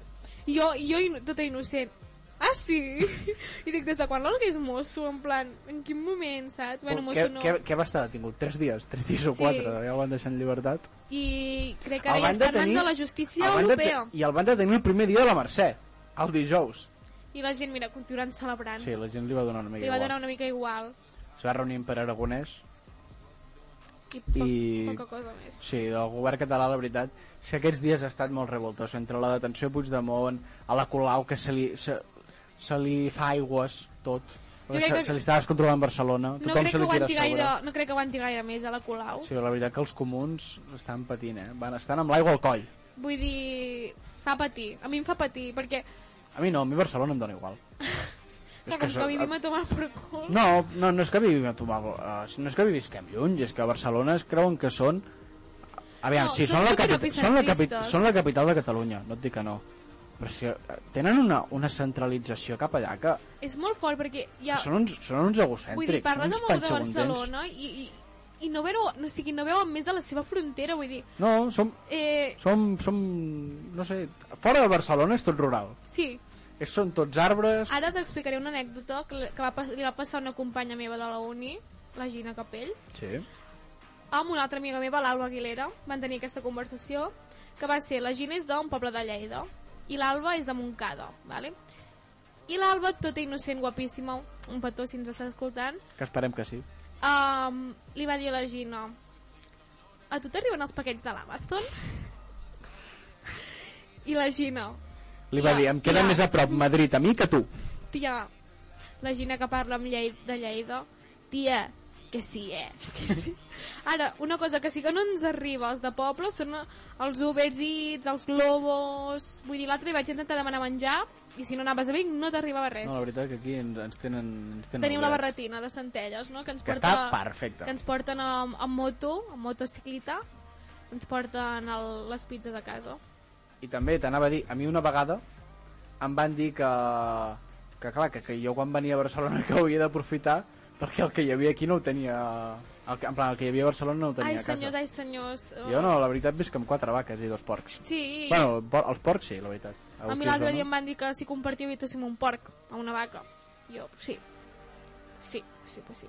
S2: Jo, jo in... tota innocent. Ah, sí? I dic, des de quan l'Alguer és mosso? En plan, en quin moment, saps? Bueno,
S1: què,
S2: mosso no.
S1: què, què va estar detingut? Tres dies? Tres dies o
S2: Sí.
S1: quatre? Ja el van deixar en llibertat.
S2: I crec que
S1: El
S2: ara ja
S1: van
S2: està en mans
S1: detenir-
S2: de la justícia
S1: El van dete-
S2: europea.
S1: I el van detenir el primer dia de la Mercè, el dijous.
S2: I la gent, mira, continuaran celebrant.
S1: Sí, la gent li va donar una mica
S2: Li va
S1: igual.
S2: donar una mica igual.
S1: Es va reunir per Aragonès.
S2: I, poc,
S1: I-
S2: poca cosa més.
S1: Sí, del govern català, la veritat, és que aquests dies ha estat molt revoltós. Entre la detenció a Puigdemont, a la Colau, que se li, se, se li fa aigües, tot. Se,
S2: Jo crec que-
S1: se li està descontrolant Barcelona.
S2: No
S1: Tothom
S2: crec,
S1: se
S2: que
S1: li gira a
S2: aguanti
S1: sobre.
S2: gaire, no crec que aguanti gaire més a la Colau.
S1: Sí, la veritat que els comuns estan patint, eh? Van, estan amb l'aigua al coll.
S2: Vull dir, fa patir. A mi em fa patir, perquè
S1: A mi no, a mi Barcelona em dóna igual.
S2: clar, com que
S1: so-
S2: vivim a tomar per cul.
S1: No, no, no és que vivim a Tomago, uh, no és que vivisquem lluny, és que a Barcelona es creuen que són... Aviam,
S2: No,
S1: sí,
S2: són
S1: són la, capi...
S2: superepicentristes.
S1: són, la capi... són la capital de Catalunya, no et dic que no. Però és que eh, tenen una, una centralització cap allà que
S2: És molt fort, perquè ja...
S1: són, uns, són uns
S2: Vull dir,
S1: egocèntrics, són
S2: parles
S1: uns
S2: amb algú de
S1: panxabundents.
S2: Barcelona i, i, i no, veu, no, o sigui, no veuen més de la seva frontera, vull dir...
S1: No, som,
S2: Eh,
S1: som, som, no sé, fora de Barcelona és tot rural.
S2: sí,
S1: És, són tots arbres,
S2: ara t'explicaré una anècdota que, li- que va, pas- li va passar a una companya meva de la uni, la Gina Capell,
S1: sí,
S2: amb una altra amiga meva, l'Alba Aguilera, van tenir aquesta conversació, que va ser, la Gina és d'un poble de Lleida, i l'Alba és de Montcada, vale? I l'Alba, tota innocent, guapíssima, un petó si ens està escoltant,
S1: que esperem que sí.
S2: um, li va dir a la Gina, a tu t'arriben els paquets de l'Amazon? I la Gina,
S1: Li va
S2: Ja,
S1: dir, em queda
S2: ja.
S1: més a prop Madrid a mi que tu.
S2: tia, la Gina que parla amb Llei de Lleida, tia, Que sí, eh? Que sí. Ara, una cosa que sí que no ens arriba als de poble són els Uber Eats, els Globos... Vull dir, l'altre dia vaig intentar demanar menjar i si no anaves a Vic no t'arribava res.
S1: No, la veritat que aquí ens, ens tenen... Ens tenen
S2: Tenim la
S1: obert.
S2: barretina de Centelles, no? Que ens
S1: Que
S2: porta...
S1: està perfecta.
S2: Que ens porten amb, amb moto, amb motocicleta, ens porten el, les pizzas a casa.
S1: I també t'anava a dir, a mi una vegada em van dir que, que clar, que, que jo quan venia a Barcelona que ho havia d'aprofitar perquè el que hi havia aquí no ho tenia... El, que- en plan, el que hi havia a Barcelona no ho
S2: Ai,
S1: tenia a
S2: senyors,
S1: casa.
S2: ai, senyors.
S1: Jo no, la veritat visc amb quatre vaques i dos porcs.
S2: Sí,
S1: Bueno, por, els porcs sí, la veritat.
S2: a mi l'altre dia em van dir que si compartia habitació amb un porc, amb una vaca. Jo, sí. Sí, sí, pues sí.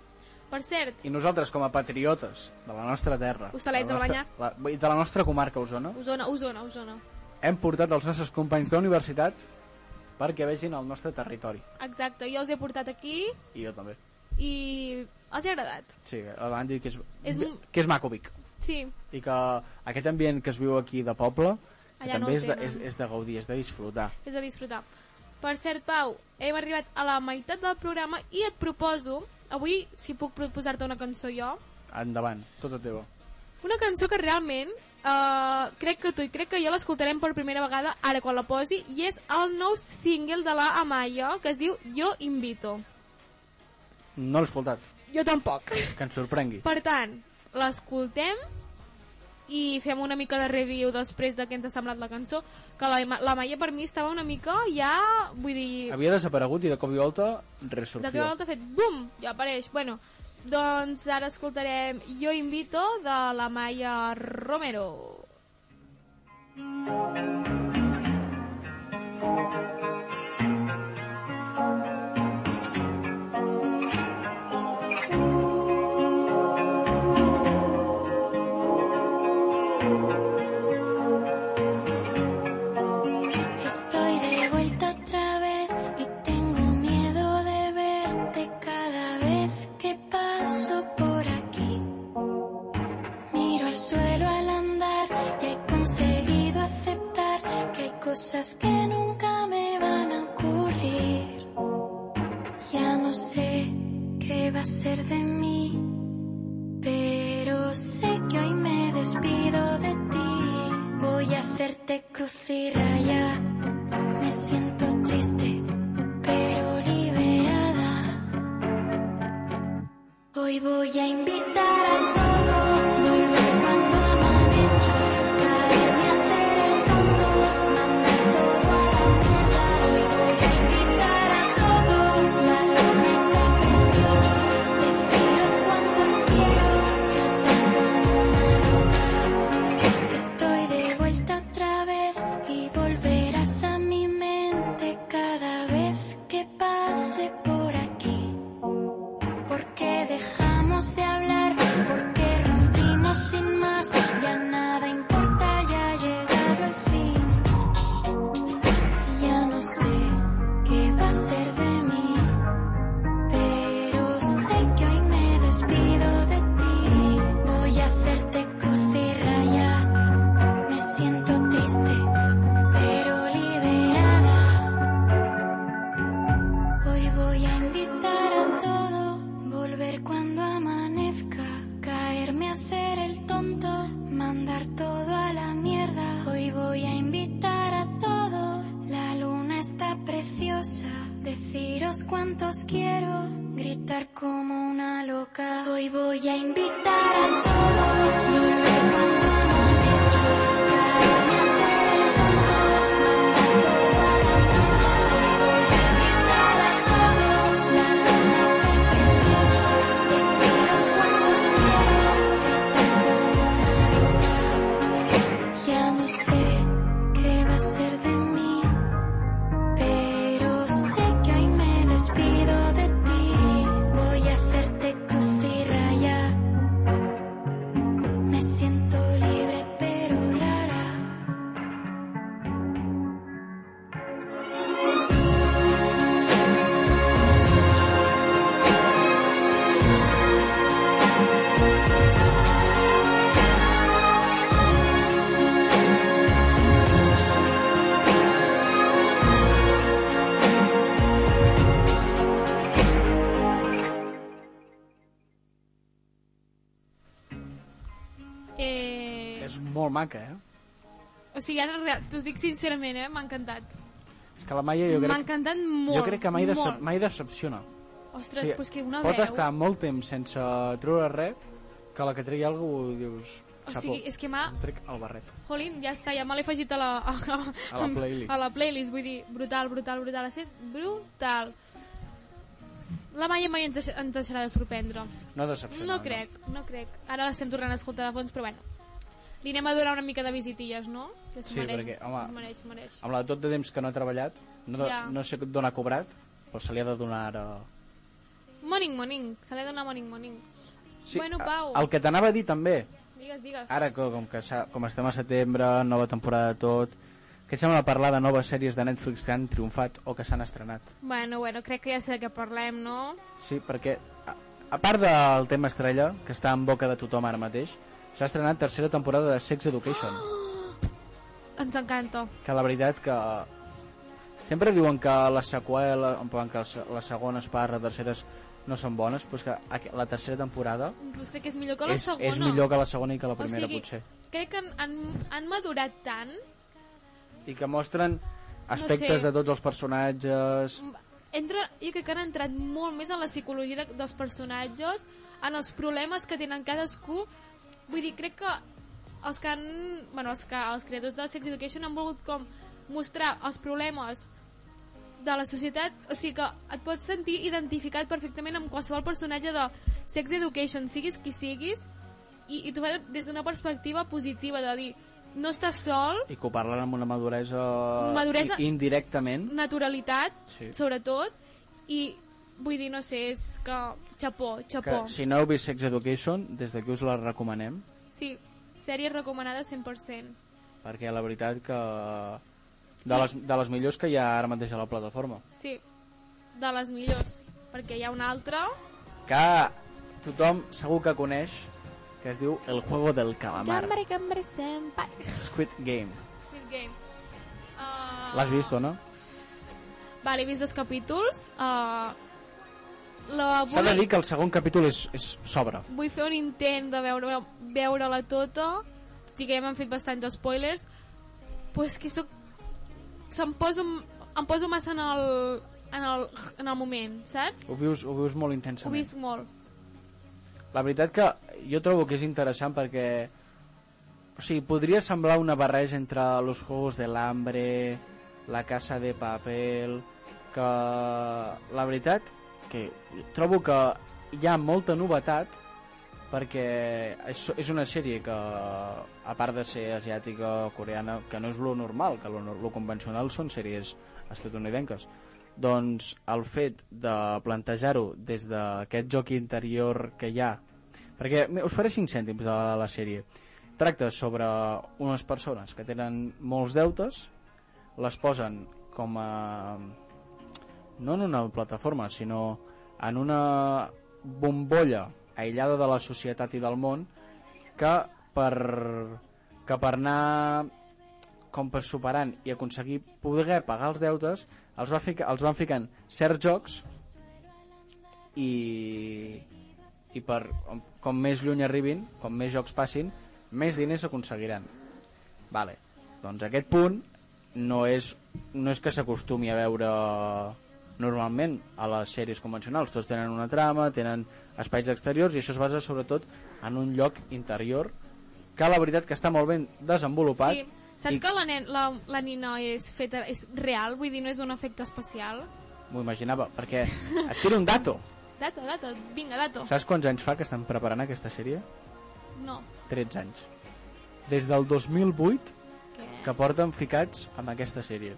S2: Per cert,
S1: I nosaltres, com a patriotes de la nostra terra...
S2: Hostalets
S1: la nostra-
S2: de
S1: la- i de la nostra comarca Osona,
S2: Osona, Osona, Osona.
S1: hem portat els nostres companys de la universitat perquè vegin el nostre territori.
S2: Exacte, jo els he portat aquí
S1: I jo també.
S2: i els he agradat.
S1: Sí, van dir que és,
S2: És un-
S1: que és maco Vic.
S2: Sí,
S1: I que aquest ambient que es viu aquí de poble que
S2: Allà no
S1: també
S2: el
S1: és, de,
S2: tenen.
S1: és, és de gaudir, és de disfrutar.
S2: és a disfrutar. Per cert, Pau, hem arribat a la meitat del programa i et proposo, avui, si puc proposar-te una cançó jo,
S1: Endavant, tota teva.
S2: una cançó que realment eh, crec que tu i crec que jo l'escoltarem per primera vegada ara quan la posi i és el nou single de la Amaya que es diu Jo Invito.
S1: No l'he escoltat,
S2: Jo tampoc.
S1: que ens sorprengui.
S2: Per tant, l'escoltem i fem una mica de review després de què ens ha semblat la cançó, que la, Ma- la Maia per mi estava una mica ja, vull dir,
S1: Havia desaparegut i de cop i volta
S2: de què
S1: ressortia.
S2: volta ha fet bum, ja apareix. Bueno, doncs ara escoltarem Jo invito de la Maia Romero.
S3: Estoy de vuelta otra vez y tengo miedo de verte cada vez que paso por aquí. Miro al suelo al andar y he conseguido aceptar que hay cosas que nunca me van a ocurrir. Ya no sé qué va a ser de mí, pero sé que hoy me despido de ti. Voy a hacerte cruz y raya. Me siento triste, pero liberada. Hoy voy a invitar a todo. Volver cuando amanezca, caerme a hacer el tonto, mandar todo a la mierda. Hoy voy a invitar a todo. La luna está preciosa, deciros cuántos quiero, tratarme como una loca. Estoy de vuelta otra vez y volverás a mi mente cada vez que pase por aquí. ¿Por qué dejamos de hablar? ¿Por qué rompimos sin más? Ya nada importa, ya ha llegado el fin. Ya no sé qué va a ser de mí, pero sé que hoy me despido de ti. Voy a hacerte cruz y raya. Me siento triste, pero liberada. Hoy voy a invitar a todo, volver cuando amanezca, caerme a hacer el tonto, mandar todo a la mierda. Hoy voy a invitar a todo, la luna está preciosa, deciros cuántos quiero, gritar como una loca. Hoy voy a invitar a todo, volver cuando amanezca, caerme a hacer el tonto, mandar todo a la mierda. Hoy voy a invitar a todo, la luna está preciosa, deciros cuántos quiero, tratar como una loca. Ya no sé qué va a ser de mí, pero sé que hoy me despido de ti. Voy a hacerte cruz y raya, me siento
S1: molt maca, eh?
S2: O sigui, ara real- t'ho dic sincerament, eh? M'ha encantat.
S1: És que la Maia jo
S2: M'ha
S1: crec,
S2: encantat molt.
S1: jo crec que mai,
S2: molt.
S1: decep, mai decepciona.
S2: Ostres,
S1: Sí,
S2: sí, pues que una
S1: Pot
S2: veu...
S1: estar molt temps sense treure res, que la que trigui alguna cosa dius...
S2: O
S1: "Xapó,
S2: sigui, és que m'ha...
S1: em trec el barret.
S2: Jolín, ja està, ja me l'he afegit a la... A, a,
S1: A la playlist.
S2: A la playlist, vull dir, brutal, brutal, brutal. Ha estat brutal. La Maia mai ens, deix- ens deixarà de sorprendre.
S1: No decepciona.
S2: No crec, no crec. Ara l'estem tornant a escoltar de fons, però bueno. Li anem a donar una mica de visitilles, no? Que s'ho
S1: Sí, perquè, home,
S2: Es mereix, es mereix.
S1: Amb la tot de temps que no ha treballat, no,
S2: Ja.
S1: no sé d'on ha cobrat, però se li ha de donar ara...
S2: Morning, morning. Se li ha de donar morning, morning. Bueno,
S1: a-
S2: Pau.
S1: El que t'anava a dir també,
S2: Digues, digues.
S1: ara que, com, que s'ha- com estem a setembre, nova temporada de tot, què et sembla parlar de noves sèries de Netflix que han triomfat o que s'han estrenat?
S2: Bueno, bueno, crec que ja sé de què parlem, no?
S1: Sí, perquè a, a part del tema estrella, que està en boca de tothom ara mateix, s'ha estrenat tercera temporada de Sex Education,
S2: Ens encanta.
S1: que la veritat que... Sempre diuen que les seqüeles, en plan, que les- les segones parts, les terceres no són bones, però és que aqu- la tercera temporada
S2: Inclús crec que és millor que la
S1: és,
S2: segona.
S1: és millor que la segona i que la primera,
S2: o sigui,
S1: potser.
S2: Crec que han, han, han madurat tant.
S1: I que mostren aspectes
S2: sé.
S1: de tots els personatges...
S2: Entra, jo crec que han entrat molt més en la psicologia de, dels personatges, en els problemes que tenen cadascú. Vull dir, crec que els que han... Bueno, els, que, els creadors de Sex Education han volgut com mostrar els problemes de la societat, o sigui que et pots sentir identificat perfectament amb qualsevol personatge de Sex Education, siguis qui siguis, i, i t'ho fa des d'una perspectiva positiva, de dir, no estàs sol,
S1: i que ho parlen amb una maduresa,
S2: Maduresa-
S1: i- indirectament
S2: naturalitat,
S1: Sí.
S2: sí. sobretot, i vull dir, no sé, és que xapó,
S1: que
S2: xapó.
S1: si no heu vist Sex Education des d'aquí us la recomanem
S2: Sí, sèrie recomanada 100%.
S1: perquè la veritat que de les, de les millors que hi ha ara mateix a la plataforma
S2: Sí, de les millors, perquè hi ha una altra
S1: que tothom segur que coneix que es diu El Juego del Calamar
S2: Gambare, gambare, senpai.
S1: Squid Game
S2: Squid Game. Uh...
S1: l'has vist o no?
S2: Vale, he vist dos capítols. Uh, la
S1: s'ha de
S2: vull,
S1: dir que el segon capítol és, és sobre
S2: vull fer un intent de veure veure-la tota. Sí que ja m'han fet bastants spoilers. Però és que soc... Se'm poso, em poso massa en el, en el, en el moment, saps?
S1: ho vius, ho vius molt
S2: Ho
S1: intensament
S2: visc molt.
S1: La veritat que jo trobo que és interessant perquè o sigui, podria semblar una barreja entre los juegos del hambre, la casa de papel, que la veritat que trobo que hi ha molta novetat perquè és, és una sèrie que a part de ser asiàtica, coreana, que no és lo normal, que lo, lo convencional són sèries estatunidenques doncs el fet de plantejar-ho des d'aquest joc interior que hi ha perquè mi- us faré 5 cèntims de la, la sèrie tracta sobre unes persones que tenen molts deutes les posen com a no en una plataforma sinó en una bombolla aïllada de la societat i del món que per, que per anar com per superant i aconseguir poder pagar els deutes, els, va ficar, els van ficant certs jocs i, i per, com més lluny arribin, com més jocs passin, més diners aconseguiran. Vale. Doncs aquest punt no és, no és que s'acostumi a veure normalment a les sèries convencionals. Tots tenen una trama, tenen espais exteriors i això es basa sobretot en un lloc interior que la veritat que està molt ben desenvolupat
S2: Sí. Saps
S1: i
S2: que la, nen, la, la nina és feta, és real? Vull dir, no és un efecte especial?
S1: M'ho imaginava, perquè et tiro un dato.
S2: Dato, dato, vinga, dato.
S1: Saps quants anys fa que estan preparant aquesta sèrie?
S2: No.
S1: 13 anys. Des del 2008
S2: Què?
S1: que porten ficats amb aquesta sèrie.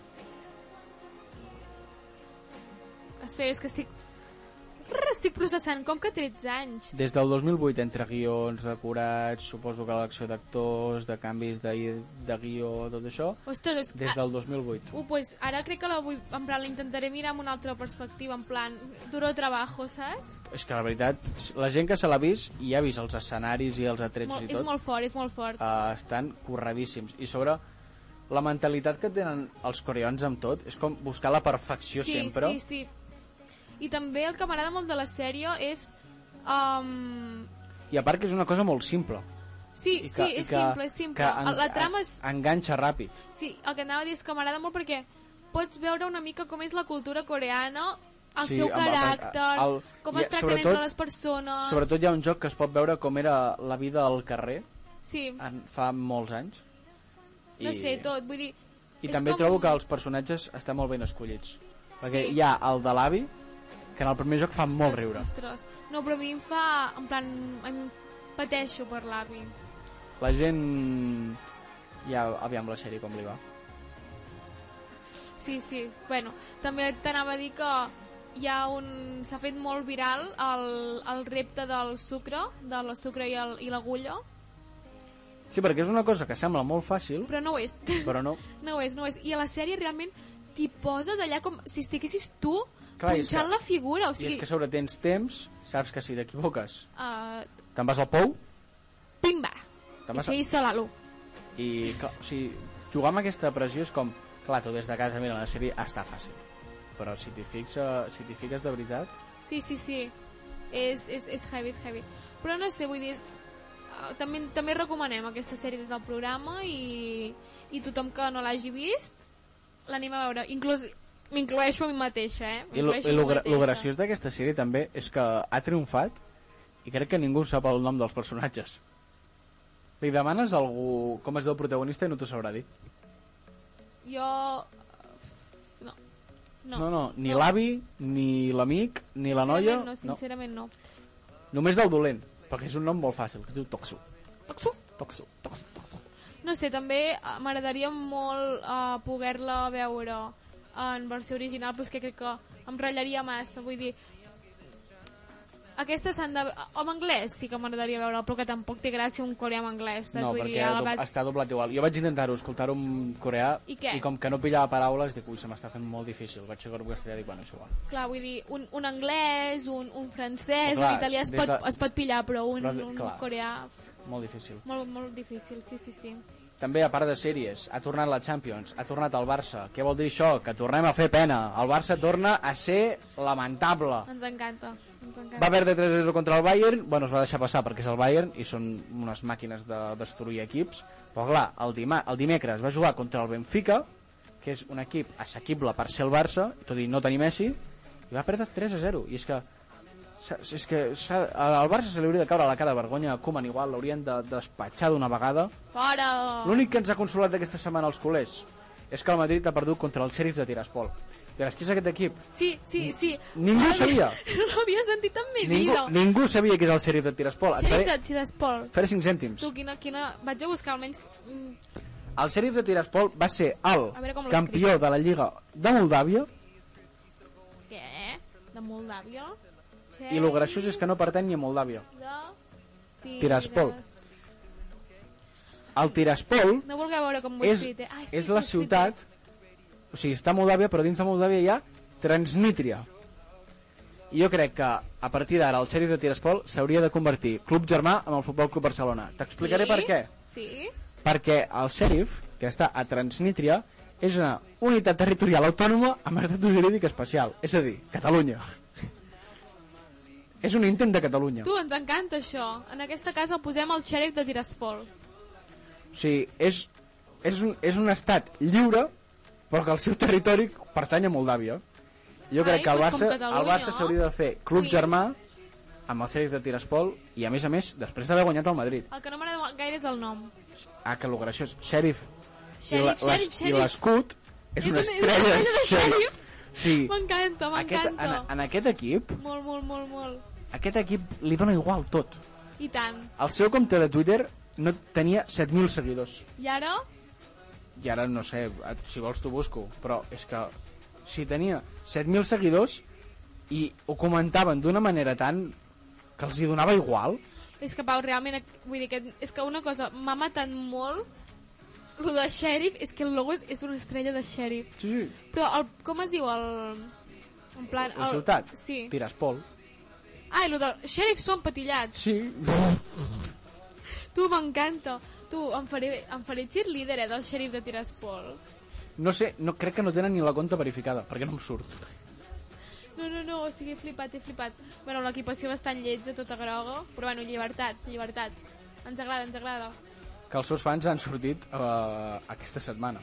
S2: Espera, és que estic... Rrr, Estic processant, com que 13 anys?
S1: Des del 2008, entre guions, decorats, suposo que l'acció d'actors, de canvis de, de guió, tot això,
S2: Ostres, és...
S1: des
S2: ah,
S1: del 2008.
S2: Uh, pues ara crec que la vull... En plan, la intentaré mirar amb una altra perspectiva, en plan, duro trabajo, saps?
S1: És que la veritat, la gent que se l'ha vist i ha vist els escenaris i els atrets
S2: Molt,
S1: i tot,
S2: és molt fort, és molt fort.
S1: eh, estan corredíssims. I sobre la mentalitat que tenen els coreans amb tot, és com buscar la perfecció
S2: sí,
S1: sempre.
S2: sí, sí. I també el que m'agrada molt de la sèrie és... Um,
S1: I a part que és una cosa molt simple.
S2: Sí,
S1: I
S2: que, sí, és que, simple, és simple.
S1: que en-
S2: La trama és...
S1: en- Enganxa ràpid.
S2: Sí, el que anava a dir és que m'agrada molt perquè pots veure una mica com és la cultura coreana, el
S1: Sí,
S2: seu
S1: amb- amb-
S2: caràcter,
S1: el-
S2: com
S1: i
S2: es tracten
S1: sobretot-
S2: entre les persones...
S1: Sobretot hi ha un joc que es pot veure com era la vida al carrer
S2: Sí,
S1: en, fa molts anys.
S2: no sé, tot. Vull dir,
S1: I
S2: és
S1: també
S2: com-
S1: trobo que els personatges estan molt ben escollits. Perquè
S2: Sí.
S1: hi ha el de l'avi, que en el primer joc fa molt riure.
S2: Ostres, no, però a mi em fa... En plan, a mi em pateixo per l'avi.
S1: La gent... Ja, aviam la sèrie com li va.
S2: Sí, sí. Bueno, també t'anava a dir que hi ha un... S'ha fet molt viral el, el repte del sucre, de la sucre i el- i l'agulla,
S1: Sí, perquè és una cosa que sembla molt fàcil,
S2: però no ho és.
S1: però no.
S2: No ho és, no ho és. I a la sèrie realment t'hi poses allà com si estiguessis tu
S1: Clar,
S2: Clar,
S1: i és
S2: punxant
S1: que-
S2: la figura. O
S1: I és
S2: sigui,
S1: que a sobre tens temps, saps que si t'equivoques
S2: uh,
S1: te'n vas al pou,
S2: pim, va.
S1: te'n
S2: I
S1: vas a...
S2: seguís a l'alo.
S1: I, clar, o sigui, jugar amb aquesta pressió és com... Clar, tu des de casa, mira, la sèrie està fàcil. Però si t'hi fixa, si t'hi fiques de veritat...
S2: Sí, sí, sí. És, és, és heavy, és heavy. Però no sé, vull dir, és, eh, també, també recomanem aquesta sèrie des del programa i, i tothom que no l'hagi vist l'anem a veure. Inclús m'incloeixo a mi mateixa, eh?
S1: I lo,
S2: M'incloeixo
S1: i
S2: a mi
S1: lo, gra- lo
S2: mateixa.
S1: graciós d'aquesta sèrie també és que ha triomfat i crec que ningú sap el nom dels personatges. Li demanes a algú com es diu el protagonista i no t'ho sabrà dir.
S2: Jo... No. No,
S1: no, no ni l'avi, ni l'amic, ni la noia...
S2: Sincerament No, sincerament no.
S1: Només del dolent, perquè és un nom molt fàcil, que es diu Toxu.
S2: Toxu.
S1: Toxu, Toxu, Toxu.
S2: No sé, també eh, m'agradaria molt eh, poder-la veure en versió original, però és que crec que em ratllaria massa, vull dir... Aquesta s'han de... En anglès sí que m'agradaria veure, però que tampoc té gràcia un coreà en anglès, saps?
S1: No,
S2: Doncs vull dir,
S1: perquè
S2: a la
S1: do-
S2: vegada-
S1: està doblat igual. Jo vaig intentar-ho, escoltar-ho en coreà,
S2: I què?
S1: com que no pillava paraules, dic, ui, se m'està fent molt difícil. Vaig fer un castellà i dic, bueno, és igual.
S2: Clar, vull dir, un, un anglès, un, un francès,
S1: Però clar,
S2: un italià es
S1: des
S2: pot,
S1: de-
S2: es pot pillar, però un,
S1: Però,
S2: un
S1: clar.
S2: coreà...
S1: Molt difícil.
S2: Molt, molt difícil, sí, sí, sí.
S1: També, a part de sèries, ha tornat la Champions, ha tornat el Barça. Què vol dir això? Que tornem a fer pena. El Barça torna a ser lamentable.
S2: Ens encanta, ens encanta.
S1: Va perdre 3-0 contra el Bayern, bueno, es va deixar passar perquè és el Bayern i són unes màquines de destruir equips, però clar, el, dima el dimecres va jugar contra el Benfica, que és un equip assequible per ser el Barça, tot i no tenir Messi, i va perdre 3-0, i és que s'ha- és que s'ha- al Barça se li hauria de caure la cara de vergonya a Koeman igual, l'haurien de despatxar d'una vegada,
S2: Fora!
S1: L'únic que ens ha consolat d'aquesta setmana als culers és que el Madrid ha perdut contra el xèrif de Tiraspol. Diràs, qui és aquest equip?
S2: Sí, sí, sí.
S1: Ningú
S2: Ara,
S1: sabia.
S2: No l'havia sentit en mi
S1: Ningú,
S2: vida.
S1: ningú sabia qui és el xèrif de Tiraspol. Et faré,
S2: Xerita, Chidaspol.
S1: faré 5 cèntims.
S2: Tu, quina, quina... Vaig a buscar almenys... mm,
S1: El xèrif de Tiraspol va ser el
S2: A veure com l'escric.
S1: campió de la Lliga de Moldàvia
S2: Què? De Moldàvia? Che...
S1: i el graciós és que no pertany ni a Moldàvia.
S2: De...
S1: Tiraspol. El Tiraspol
S2: No vulgueu veure com ho he
S1: és,
S2: escrit, eh? Ai, sí,
S1: és
S2: ho he
S1: la
S2: escrit
S1: ciutat... O sigui, està Moldàvia, però dins de Moldàvia hi ha Transnítria. I jo crec que a partir d'ara el xèrif de Tiraspol s'hauria de convertir club germà amb el Futbol Club Barcelona.
S2: bé.
S1: T'explicaré
S2: Sí?
S1: per què.
S2: Sí?
S1: Perquè el xèrif, que està a Transnítria, és una unitat territorial autònoma amb estatus jurídic especial. És a dir, Catalunya. és un intent de Catalunya.
S2: Tu, ens encanta això. En aquesta casa posem el xèrif de Tiraspol.
S1: O sigui, és, és, un, és un estat lliure, però que el seu territori pertany a Moldàvia. Jo
S2: Ai,
S1: crec que el
S2: doncs com
S1: Barça, el
S2: Catalunya.
S1: Barça s'hauria de fer club
S2: Ui.
S1: germà amb el Sèries de Tiraspol i, a més a més, després d'haver guanyat el Madrid.
S2: El que no m'agrada gaire és el nom.
S1: Ah, que lo graciós. Xèrif. I la- les-
S2: Xèrif, xèrif,
S1: I
S2: xèrif.
S1: l'escut és,
S2: És
S1: una
S2: un- és
S1: estrella
S2: una
S1: de
S2: estrella de
S1: xèrif.
S2: xèrif.
S1: Sí.
S2: M'encanta,
S1: Aquest,
S2: m'encanta.
S1: en, en aquest equip,
S2: Molt, molt, molt, molt.
S1: aquest equip li dona igual tot.
S2: I tant.
S1: El seu compte de Twitter no tenia 7.000 seguidors.
S2: I ara?
S1: i ara no sé, et- si vols t'ho busco, però és que si tenia 7.000 seguidors i ho comentaven d'una manera tan que els hi donava igual,
S2: És que, Pau, realment, vull dir que és que una cosa m'ha matat molt lo de xèrif, és que el logo és, és una estrella de xèrif.
S1: sí, sí.
S2: Però el, com es diu el... En plan...
S1: la ciutat,
S2: Sí.
S1: Tiraspol,
S2: Ah, i lo del xèrif són patillats.
S1: sí,
S2: Tu, m'encanta. Tu, em faré, em faré cheerleader, eh, del xèrif de Tiraspol.
S1: no sé, no, crec que no tenen ni la conta verificada, perquè no em surt.
S2: No, no, no, o sigui, he flipat, he flipat. Bueno, l'equipació bastant lletja, tota groga, però bueno, llibertat, llibertat. Ens agrada, ens agrada.
S1: que els seus fans han sortit eh, aquesta setmana.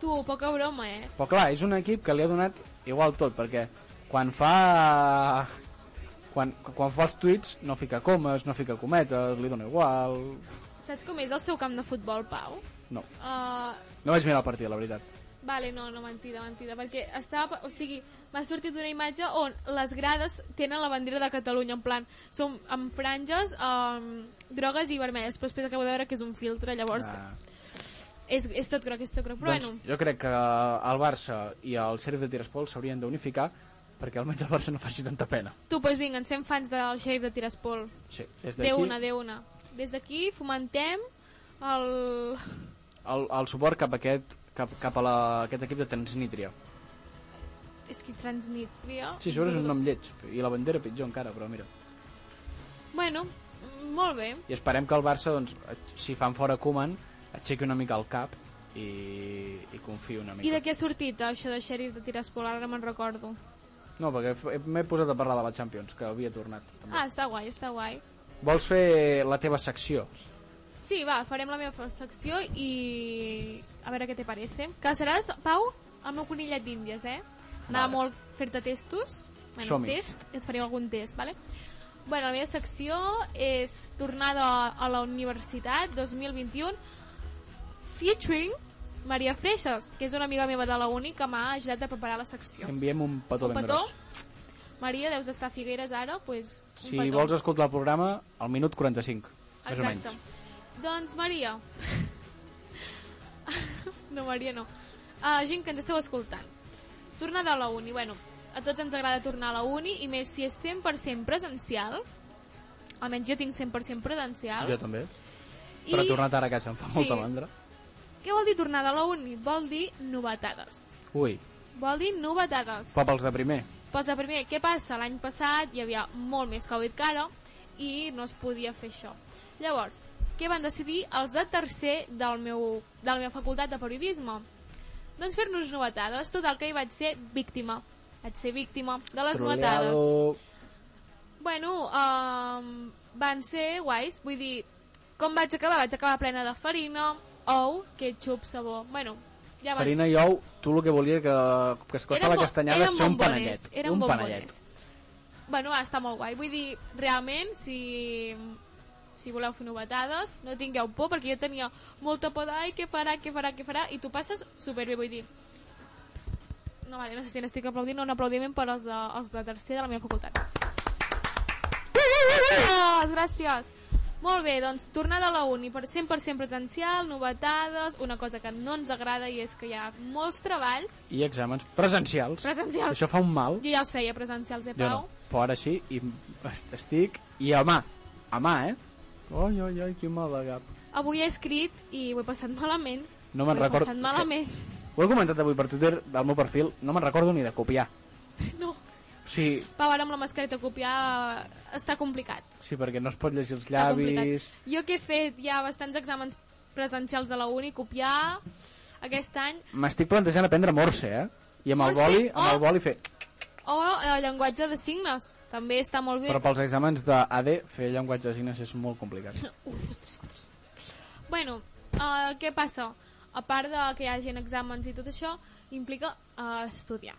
S2: Tu, poca broma, eh?
S1: Però clar, és un equip que li ha donat igual tot, perquè quan fa... Quan, quan fa els tuits no fica comes, no fica cometes, li dona igual...
S2: Saps com és el seu camp de futbol, Pau?
S1: No,
S2: Uh,
S1: no vaig mirar el partit, la veritat.
S2: vale, no, no, mentida, mentida, perquè estava, o sigui, m'ha sortit una imatge on les grades tenen la bandera de Catalunya, en plan, som amb franges, um, grogues i vermelles, però després acabo de veure que és un filtre, llavors
S1: Ah,
S2: és, és tot groc, és tot groc, però
S1: doncs
S2: bueno,
S1: jo crec que el Barça i el Sheriff de Tiraspol s'haurien d'unificar perquè almenys el Barça no faci tanta pena.
S2: tu, doncs vinga, ens fem fans del xerif de Tiraspol.
S1: Sí, des
S2: De
S1: d'aquí
S2: una, de una. Des d'aquí fomentem el...
S1: el, el suport cap a aquest, cap, cap a la, aquest equip de Transnítria.
S2: És que Transnistria...
S1: Sí, sobre és un nom lleig, i la bandera pitjor encara, però mira.
S2: Bueno, mm, molt bé.
S1: i esperem que el Barça doncs, si fan fora Koeman aixequi una mica el cap i, i confio una
S2: I
S1: mica
S2: de què ha sortit això de xerif de Tiraspol? Ara no me'n recordo.
S1: no, perquè f- m'he posat a parlar de la Champions que havia tornat també.
S2: Ah, està guai, està guai.
S1: vols fer la teva secció?
S2: Sí, va, farem la meva secció i... A veure què te parece. Que seràs, Pau, el meu conillet d'índies, eh? Anava
S1: Vale.
S2: molt fer-te testos. Bueno,
S1: Som-hi.
S2: test, et faré algun test, vale? Bueno, la meva secció és tornada a la universitat 2021 featuring Maria Freixas, que és una amiga meva de la uni que m'ha ajudat a preparar la secció.
S1: enviem un petó
S2: Un
S1: ben
S2: petó.
S1: gros
S2: Maria, deus estar a Figueres ara, doncs un
S1: si
S2: petó.
S1: vols escoltar el programa al minut 45 més o
S2: Exacte.
S1: menys
S2: Doncs Maria. no, Maria no. Uh, gent que ens esteu escoltant. Tornada a la uni. Bueno, a tots ens agrada tornar a la uni i més si és 100% presencial. Almenys jo tinc 100% presencial.
S1: jo també, però
S2: I
S1: tornat ara a casa em fa molta
S2: Sí.
S1: mandra
S2: què vol dir tornada a la uni? Vol dir novetades.
S1: ui,
S2: Vol dir novetades.
S1: pop els de primer
S2: Pues de primer, què passa? L'any passat hi havia molt més Covid que ara i no es podia fer això. Llavors, què van decidir els de tercer del meu, de la meva facultat de periodisme? Doncs fer-nos novetades, tot el que hi vaig ser víctima. Vaig ser víctima de les novetades.
S1: Troleado.
S2: Bueno, um, van ser guais, vull dir, com vaig acabar? Vaig acabar plena de farina, ou, ketchup, sabó... Bueno, ja vaig
S1: farina i ou, tu el que volia que, que es costa
S2: Eren
S1: la
S2: bo-
S1: castanyada
S2: eren
S1: és ser un
S2: bombones,
S1: panellet
S2: eren
S1: un
S2: bombones.
S1: panellet
S2: Bueno, va, està molt guai. Vull dir, realment, si, si voleu fer novetades, no tingueu por, perquè jo tenia molta por de, ai, què farà, què farà, què farà, i tu passes superbé, vull dir. No, vale, no sé si n'estic aplaudint o un aplaudiment per als de, als de tercer de la meva facultat. Gràcies, gràcies. Molt bé, doncs, tornada a la uni, per 100% presencial, novetades, una cosa que no ens agrada i és que hi ha molts treballs
S1: i exàmens presencials.
S2: presencials.
S1: Això fa un mal.
S2: Jo ja els feia presencials, eh,
S1: Jo
S2: Pau?
S1: no. Però ara sí, i est- estic... I a mà. A mà, eh? Oi, oi, oi, quin mal de cap.
S2: Avui he escrit i ho he passat malament.
S1: No me'n
S2: Ho he
S1: record-
S2: passat malament.
S1: Ho he comentat avui per Twitter del meu perfil, no me'n recordo ni de copiar.
S2: No.
S1: O sigui,
S2: Pau, ara amb la mascareta copiar eh, està complicat.
S1: sí, perquè no es pot llegir els
S2: Està complicat.
S1: llavis...
S2: Jo que he fet ja bastants exàmens presencials a la uni, copiar aquest any,
S1: M'estic plantejant aprendre morse, eh? I amb el
S2: Morse,
S1: boli, amb el
S2: oh.
S1: boli fer...
S2: o eh, llenguatge de signes, també està molt bé.
S1: Però pels exàmens d'AD, fer llenguatge de signes és molt complicat.
S2: Uf, ostres, ostres. Bueno, eh, què passa? A part de que hi hagin exàmens i tot això, implica eh, estudiar.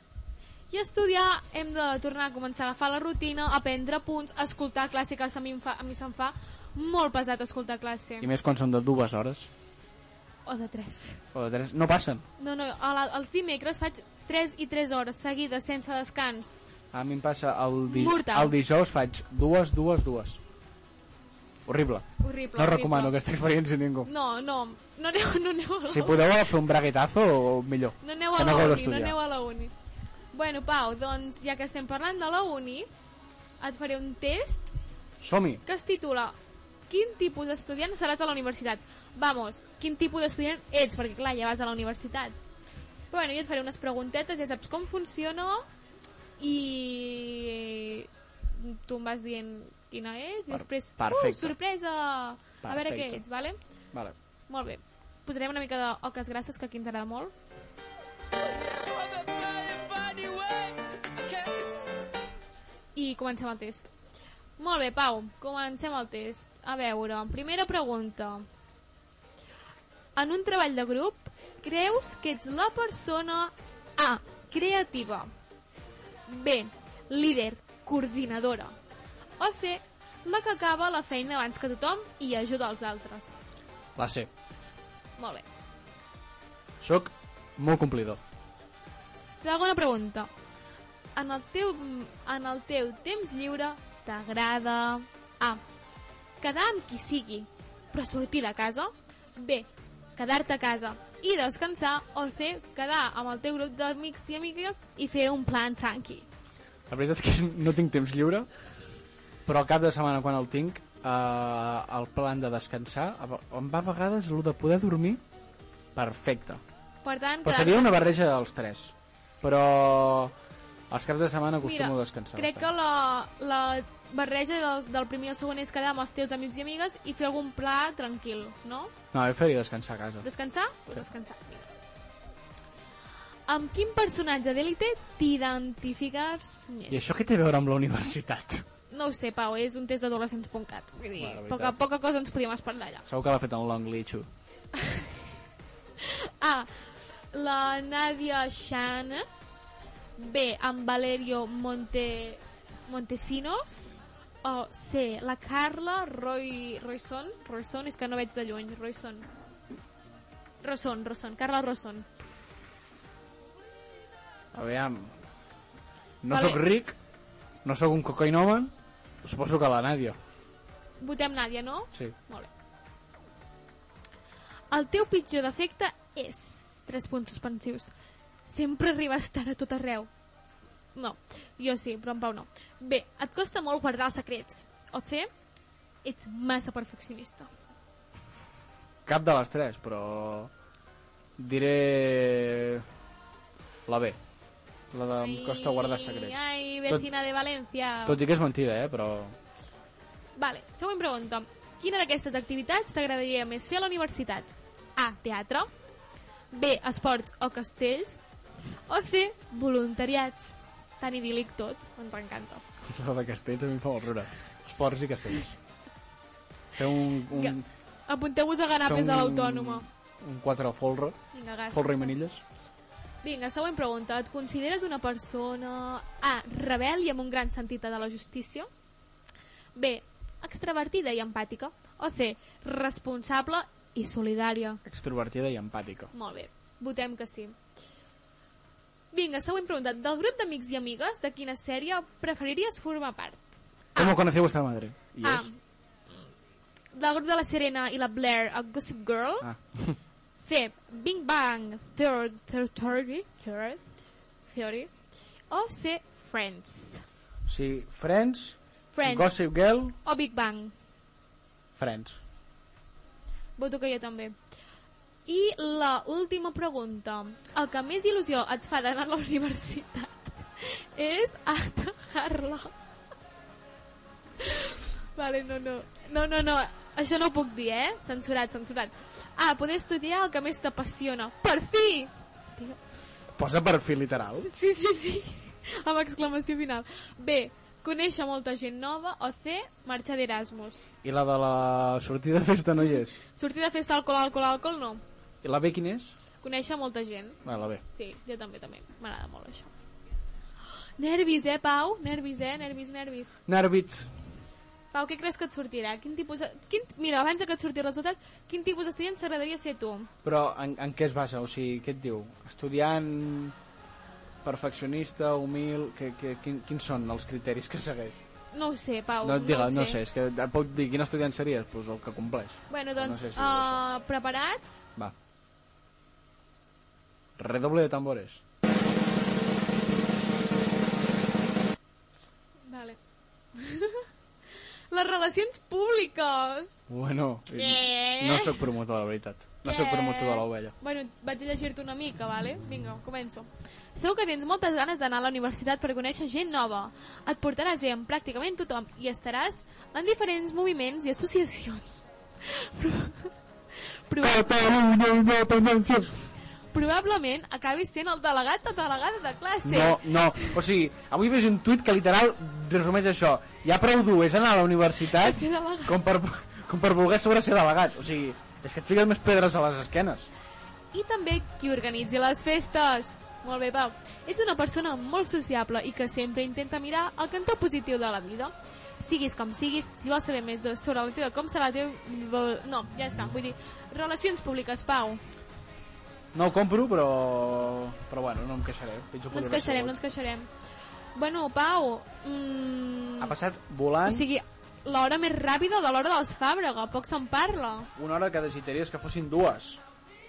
S2: I estudiar hem de tornar a començar a agafar la rutina, a prendre punts, a escoltar classe, que a mi, em fa, a mi se'm fa molt pesat escoltar classe.
S1: I més quan són de dues hores
S2: O de tres.
S1: o de tres. No passen.
S2: No, no, a la, els dimecres faig 3 i 3 hores seguides, sense descans.
S1: A mi em passa el, di...
S2: Mortal.
S1: el dijous faig dues, dues, dues. Horrible.
S2: Horrible,
S1: No
S2: horrible.
S1: recomano aquesta experiència a ningú.
S2: No, no, no aneu, no aneu a la
S1: Oh. Si podeu fer un braguetazo, o millor.
S2: No aneu
S1: que
S2: a
S1: no
S2: la
S1: acabo
S2: uni, no
S1: d'estudiar.
S2: aneu a la uni. Bueno, Pau, doncs ja que estem parlant de la uni, et faré un test
S1: Som-hi.
S2: que es titula Quin tipus d'estudiant seràs a la universitat? Vamos, quin tipus d'estudiant ets? Perquè clar, ja vas a la universitat. Però bueno, jo et faré unes preguntetes, ja saps com funciona i tu em vas dient quina és i
S1: Per-
S2: després... Uh,
S1: perfecte.
S2: sorpresa! A veure què
S1: Perfecte.
S2: ets, vale?
S1: Vale.
S2: Molt bé. Posarem una mica d'oques grasses, que aquí ens agrada molt. I comencem el test. Molt bé, Pau, comencem el test. A veure, primera pregunta. En un treball de grup, creus que ets la persona A. Creativa B. Líder, coordinadora o C. La que acaba la feina abans que tothom i ajuda els altres.
S1: La C.
S2: Molt bé.
S1: Soc molt complidor.
S2: Segona pregunta. En el teu, en el teu temps lliure t'agrada... A. Quedar amb qui sigui, però sortir de casa. B. Quedar-te a casa i descansar. O C. Quedar amb el teu grup d'amics i amigues i fer un plan tranqui.
S1: La veritat és que no tinc temps lliure, però al cap de setmana quan el tinc, eh, el plan de descansar, a ve- em va a vegades el de poder dormir perfecte.
S2: Per tant,
S1: Però
S2: quedar-
S1: seria una barreja dels tres. Però els caps de setmana acostumo a descansar.
S2: crec que
S1: bastant.
S2: la, la barreja del, del primer i el segon és quedar amb els teus amics i amigues i fer algun pla tranquil, no?
S1: No, jo faria descansar a casa.
S2: Descansar? Pues descansar. Vinga. Amb quin personatge d'Elite t'identifiques més?
S1: I això què té a veure amb la universitat?
S2: No ho sé, Pau, és un test d'adolescents.cat. Vull dir,
S1: Bueno, la
S2: poca,
S1: veritat.
S2: poca cosa ens podíem esperar allà.
S1: Segur que l'ha fet en Long Lee Chu.
S2: A. La Nadia Shan. B. En Valerio Monte, Montesinos. O C. La Carla Roy, Royson. Royson, és que no veig de lluny. Royson. Roson, Roson. Carla Roson.
S1: Aviam. No
S2: Vale.
S1: sóc ric, no sóc un cocainoman, suposo que la Nadia.
S2: Votem Nadia, no?
S1: Sí.
S2: Molt bé. El teu pitjor defecte és... Tres punts suspensius. Sempre arribes tard a tot arreu. No, jo sí, però en Pau no. Bé, et costa molt guardar els secrets. O C, ets massa perfeccionista.
S1: Cap de les tres, però... Diré... La B. La de em costa guardar secrets.
S2: Ai,
S1: Tot-
S2: vecina de València.
S1: Tot i que és mentida, eh, però...
S2: Vale, següent pregunta. Quina d'aquestes activitats t'agradaria més fer a la universitat? A. Teatre. B. Esports o castells. O C. Voluntariats. Tan idíl·lic tot, ens encanta.
S1: La de castells a mi em fa molt riure. Esports i castells. Fer un... un
S2: Apunteu-vos a ganar
S1: fer
S2: pes
S1: un-
S2: a l'autònoma. Ah.
S1: Un 4 folre.
S2: Vinga, gas.
S1: Folre i manilles.
S2: Vinga, següent pregunta. Et consideres una persona A. Rebel i amb un gran sentit de la justícia? B. Extravertida i empàtica? O C. Responsable i solidària?
S1: Extrovertida i empàtica.
S2: Molt bé, votem que sí. Vinga, següent pregunta. Del grup d'amics i amigues, de quina sèrie preferiries formar part?
S1: Com ho coneixeu vostra madre? I
S2: A.
S1: és?
S2: Del grup de la Serena i la Blair a Gossip Girl.
S1: Ah.
S2: C. Big Bang Theory, Theory, Theory, Theory. O C. Friends.
S1: O sigui, Friends,
S2: Friends
S1: Gossip Girl,
S2: o Big Bang.
S1: Friends.
S2: Voto que jo també. I la última pregunta. El que més il·lusió et fa d'anar a la universitat és atajar-la. Vale, no, no. No, no, no. Això no ho puc dir, eh? Censurat, censurat. Ah, poder estudiar el que més t'apassiona. Per fi! Tio.
S1: Posa perfil literal.
S2: Sí, sí, sí. Amb exclamació final. B. Conèixer molta gent nova o C. Marxar d'Erasmus.
S1: I la de la sortida de festa no hi és.
S2: Sortir de festa alcohol, alcohol, alcohol, no.
S1: I la B quina és?
S2: Conèixer molta gent.
S1: Bé, la B.
S2: Sí, jo també, també. M'agrada molt això. Nervis, eh, Pau? Nervis, eh? Nervis, nervis.
S1: Nervits.
S2: Pau, què creus que et sortirà? Quin tipus de... Quin... Mira, abans de que et surti el resultat, quin tipus d'estudiant t'agradaria ser tu?
S1: Però en, en què es basa? O sigui, què et diu? Estudiant, perfeccionista, humil... Que, que, quin, quins són els criteris que segueix?
S2: No ho sé, Pau.
S1: no et diga,
S2: ho
S1: no,
S2: sé.
S1: sé, és que et puc dir quin estudiant series? Pues el que compleix.
S2: Bueno,
S1: No
S2: doncs,
S1: sé si ho
S2: uh, preparats?
S1: Va. Redoble de tambores.
S2: Vale. Les relacions públiques.
S1: Bueno,
S2: Què?
S1: no sóc promotor, la veritat. No sóc
S2: Què?
S1: promotor de l'ovella.
S2: Eh, Bueno, vaig a llegir-te una mica, vale? Vinga, començo. Segur que tens moltes ganes d'anar a la universitat per conèixer gent nova. Et portaràs bé amb pràcticament tothom i estaràs en diferents moviments i associacions. Pro- Pro
S1: Catalunya independència!
S2: probablement acabis sent el delegat o delegada de classe.
S1: No, no. O sigui, avui veig un tuit que literal resumeix això. Ja prou dur és anar a la universitat
S2: Ser delegat.
S1: com per, com per voler sobre ser delegat. O sigui, és que et fiques més pedres a les esquenes.
S2: I també qui organitzi les festes. Molt bé, Pau. Ets una persona molt sociable i que sempre intenta mirar el cantó positiu de la vida. Siguis com siguis, si vols saber més de- sobre la teva com serà la teva... No, ja està, vull dir... Relacions públiques, Pau.
S1: No ho compro, però... Però bueno, no em queixaré. Pitjor
S2: No ens
S1: podria haver
S2: queixarem,
S1: sigut.
S2: no ens queixarem. Bueno, Pau... Mm...
S1: Ha passat volant
S2: O sigui, l'hora més ràpida de l'hora dels Fàbrega, poc se'n parla.
S1: una hora que desitjaries que fossin dues.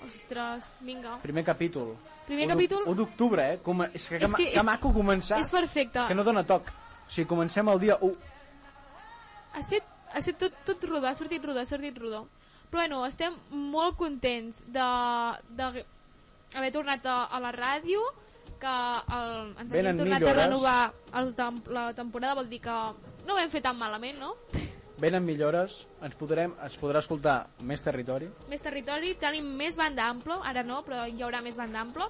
S2: Ostres, vinga.
S1: Primer capítol.
S2: Primer
S1: Un d'oc-
S2: capítol?
S1: Un d'octubre, eh? Com... És que, que,
S2: És
S1: ma-
S2: que
S1: que,
S2: és-
S1: maco començar.
S2: És perfecte.
S1: És que no dona toc. O sigui, comencem el dia 1.
S2: Ha estat, ha estat tot, tot rodó, ha sortit rodó, ha sortit rodó. Però bueno, estem molt contents de, de haver tornat a, a la ràdio, que el, ens
S1: Venen
S2: hagin tornat a
S1: millores.
S2: renovar el, tem- la temporada, vol dir que no ho vam fer tan malament, no?
S1: Venen millores, ens, podrem, ens podrà escoltar més territori.
S2: Més territori, tenim més banda ampla, ara no, però hi haurà més banda ampla.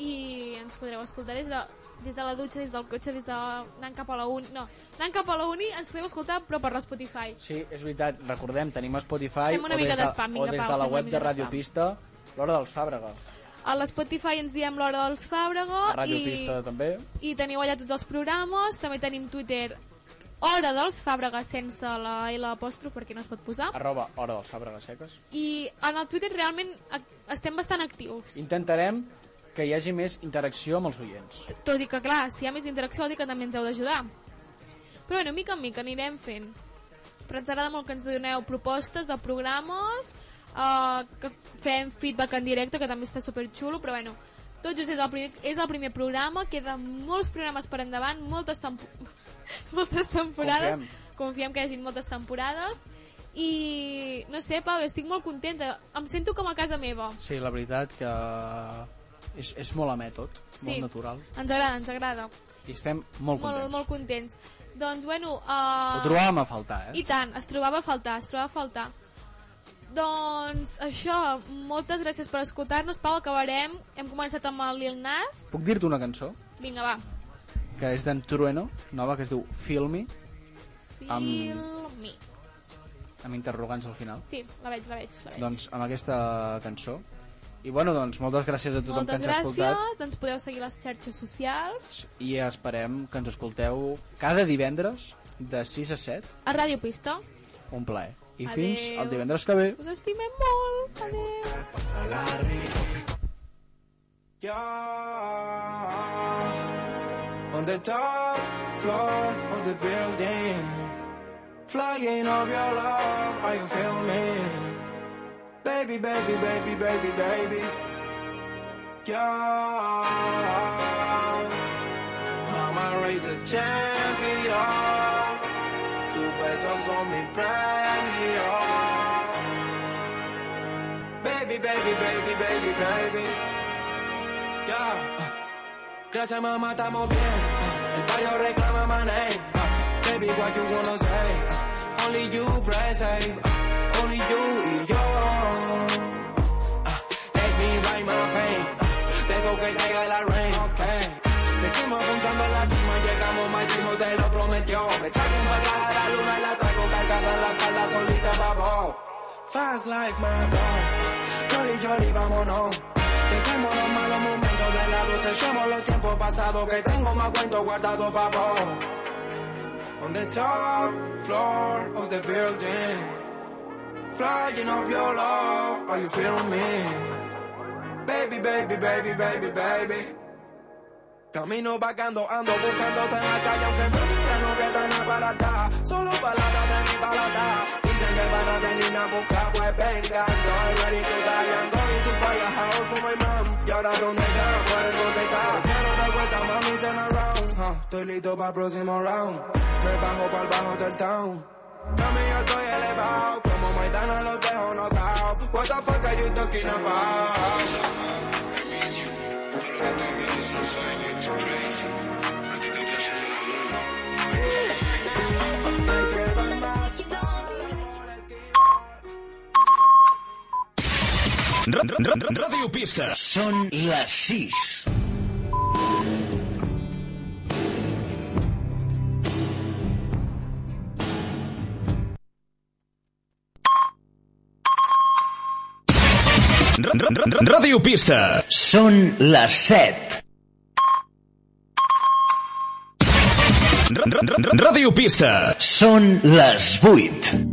S2: I ens podreu escoltar des de, des de la dutxa, des del cotxe, des de anant cap a la uni... No, anant cap a la uni ens podeu escoltar, però per la Spotify.
S1: Sí, és veritat, recordem, tenim a Spotify
S2: Fem una
S1: o des,
S2: mica
S1: de,
S2: d'espam,
S1: o
S2: vinga,
S1: des
S2: Pau,
S1: de la
S2: fem una
S1: web
S2: mica
S1: de Radio
S2: d'espam.
S1: Pista, l'hora dels Fàbrega.
S2: A la Spotify ens diem l'hora dels Fàbrega
S1: A Radio
S2: i,
S1: Pista també.
S2: i teniu allà tots els programes. També tenim Twitter Hora dels Fàbrega sense la L apòstrof perquè no es pot posar.
S1: Arroba Hora dels Fàbregues Seques.
S2: I en el Twitter realment ac- estem bastant actius.
S1: Intentarem que hi hagi més interacció amb els oients.
S2: Tot i que, clar, si hi ha més interacció, vol dir que també ens heu d'ajudar. Però bueno, mica en mica anirem fent. Però ens agrada molt que ens doneu propostes de programes, eh, que fem feedback en directe, que també està superxulo, però bueno, tot just és el, primer, és el primer programa, queden molts programes per endavant, moltes, tempo moltes temporades.
S1: Confiem.
S2: Confiem. Confiem que hi hagi moltes temporades. I no sé, Pau, estic molt contenta. Em sento com a casa meva.
S1: Sí, la veritat que és, és molt amè tot,
S2: Sí.
S1: molt natural.
S2: Ens agrada, ens agrada.
S1: I estem molt contents.
S2: molt, molt contents. Doncs, bueno... Uh,
S1: Ho trobàvem a faltar, eh?
S2: I tant, es trobava a faltar, es trobava a faltar. Doncs això, moltes gràcies per escoltar-nos. Pau, acabarem. Hem començat amb el Lil Nas.
S1: Puc dir-te una cançó
S2: Vinga, va.
S1: que és d'en Trueno, nova, que es diu Feel Me, Amb-
S2: Feel me.
S1: amb interrogants al final.
S2: Sí, la veig, la veig, la veig.
S1: Doncs amb aquesta cançó. I bueno, doncs moltes gràcies a tothom
S2: moltes
S1: que ens ha escoltat.
S2: gràcies. Doncs podeu seguir les xarxes socials.
S1: I esperem que ens escolteu cada divendres de 6 a 7.
S2: A Ràdio Pista.
S1: Un plaer. I
S2: Adeu.
S1: fins el divendres que ve.
S2: Us estimem molt. Adéu.
S4: Ya. On the top floor of the building, flying up your love. Are you feeling me? Baby, baby, baby, baby, baby. Yeah. Mama raised a champion. Tu besos son mi premio. Baby, baby, baby, baby, baby. Yeah. ah. Gracias mamá, estamos bien. ah. El barrio reclama my name. ah. Baby, what you wanna say? ah. Only you play safe. ah. Only you y yo. ah. Let me write my pain. ah. Dejo que caiga la rain. Okay. Seguimos apuntando a la cima, llegamos, my primo te lo prometió. Me saco un pasaje a la luna y la traigo cargada en la espalda solita, babo. Fast like my dog. Jolly, jolly, vámonos. Dejemos los malos momentos de lado, sellemos los tiempos pasados que tengo más cuentos guardados, papo. On the top floor of the building, flying up your love, are you feeling me? Baby, baby, baby, baby, baby. Camino vagando, ando buscándote en la calle, aunque me digan no queda nada para dar, solo palabras de mi palabra. Dicen que van a venir a buscar, pues venga, yo I'm ready to die, I'm going to buy a house for my mom. Y ahora donde ya, por eso te cago, quiero dar vuelta, mami, turn around. Huh, estoy listo para el próximo round, me bajo para el bajo del town. Mami, yo estoy elevado, como Maidana los dejo knockout. What the fuck are you talking about?
S5: Ra- ra- ra- Radio Pista.
S6: Són les 6.
S5: Radio Pistes.
S6: Són les 7.
S5: Radio Pistes.
S6: Són les 8.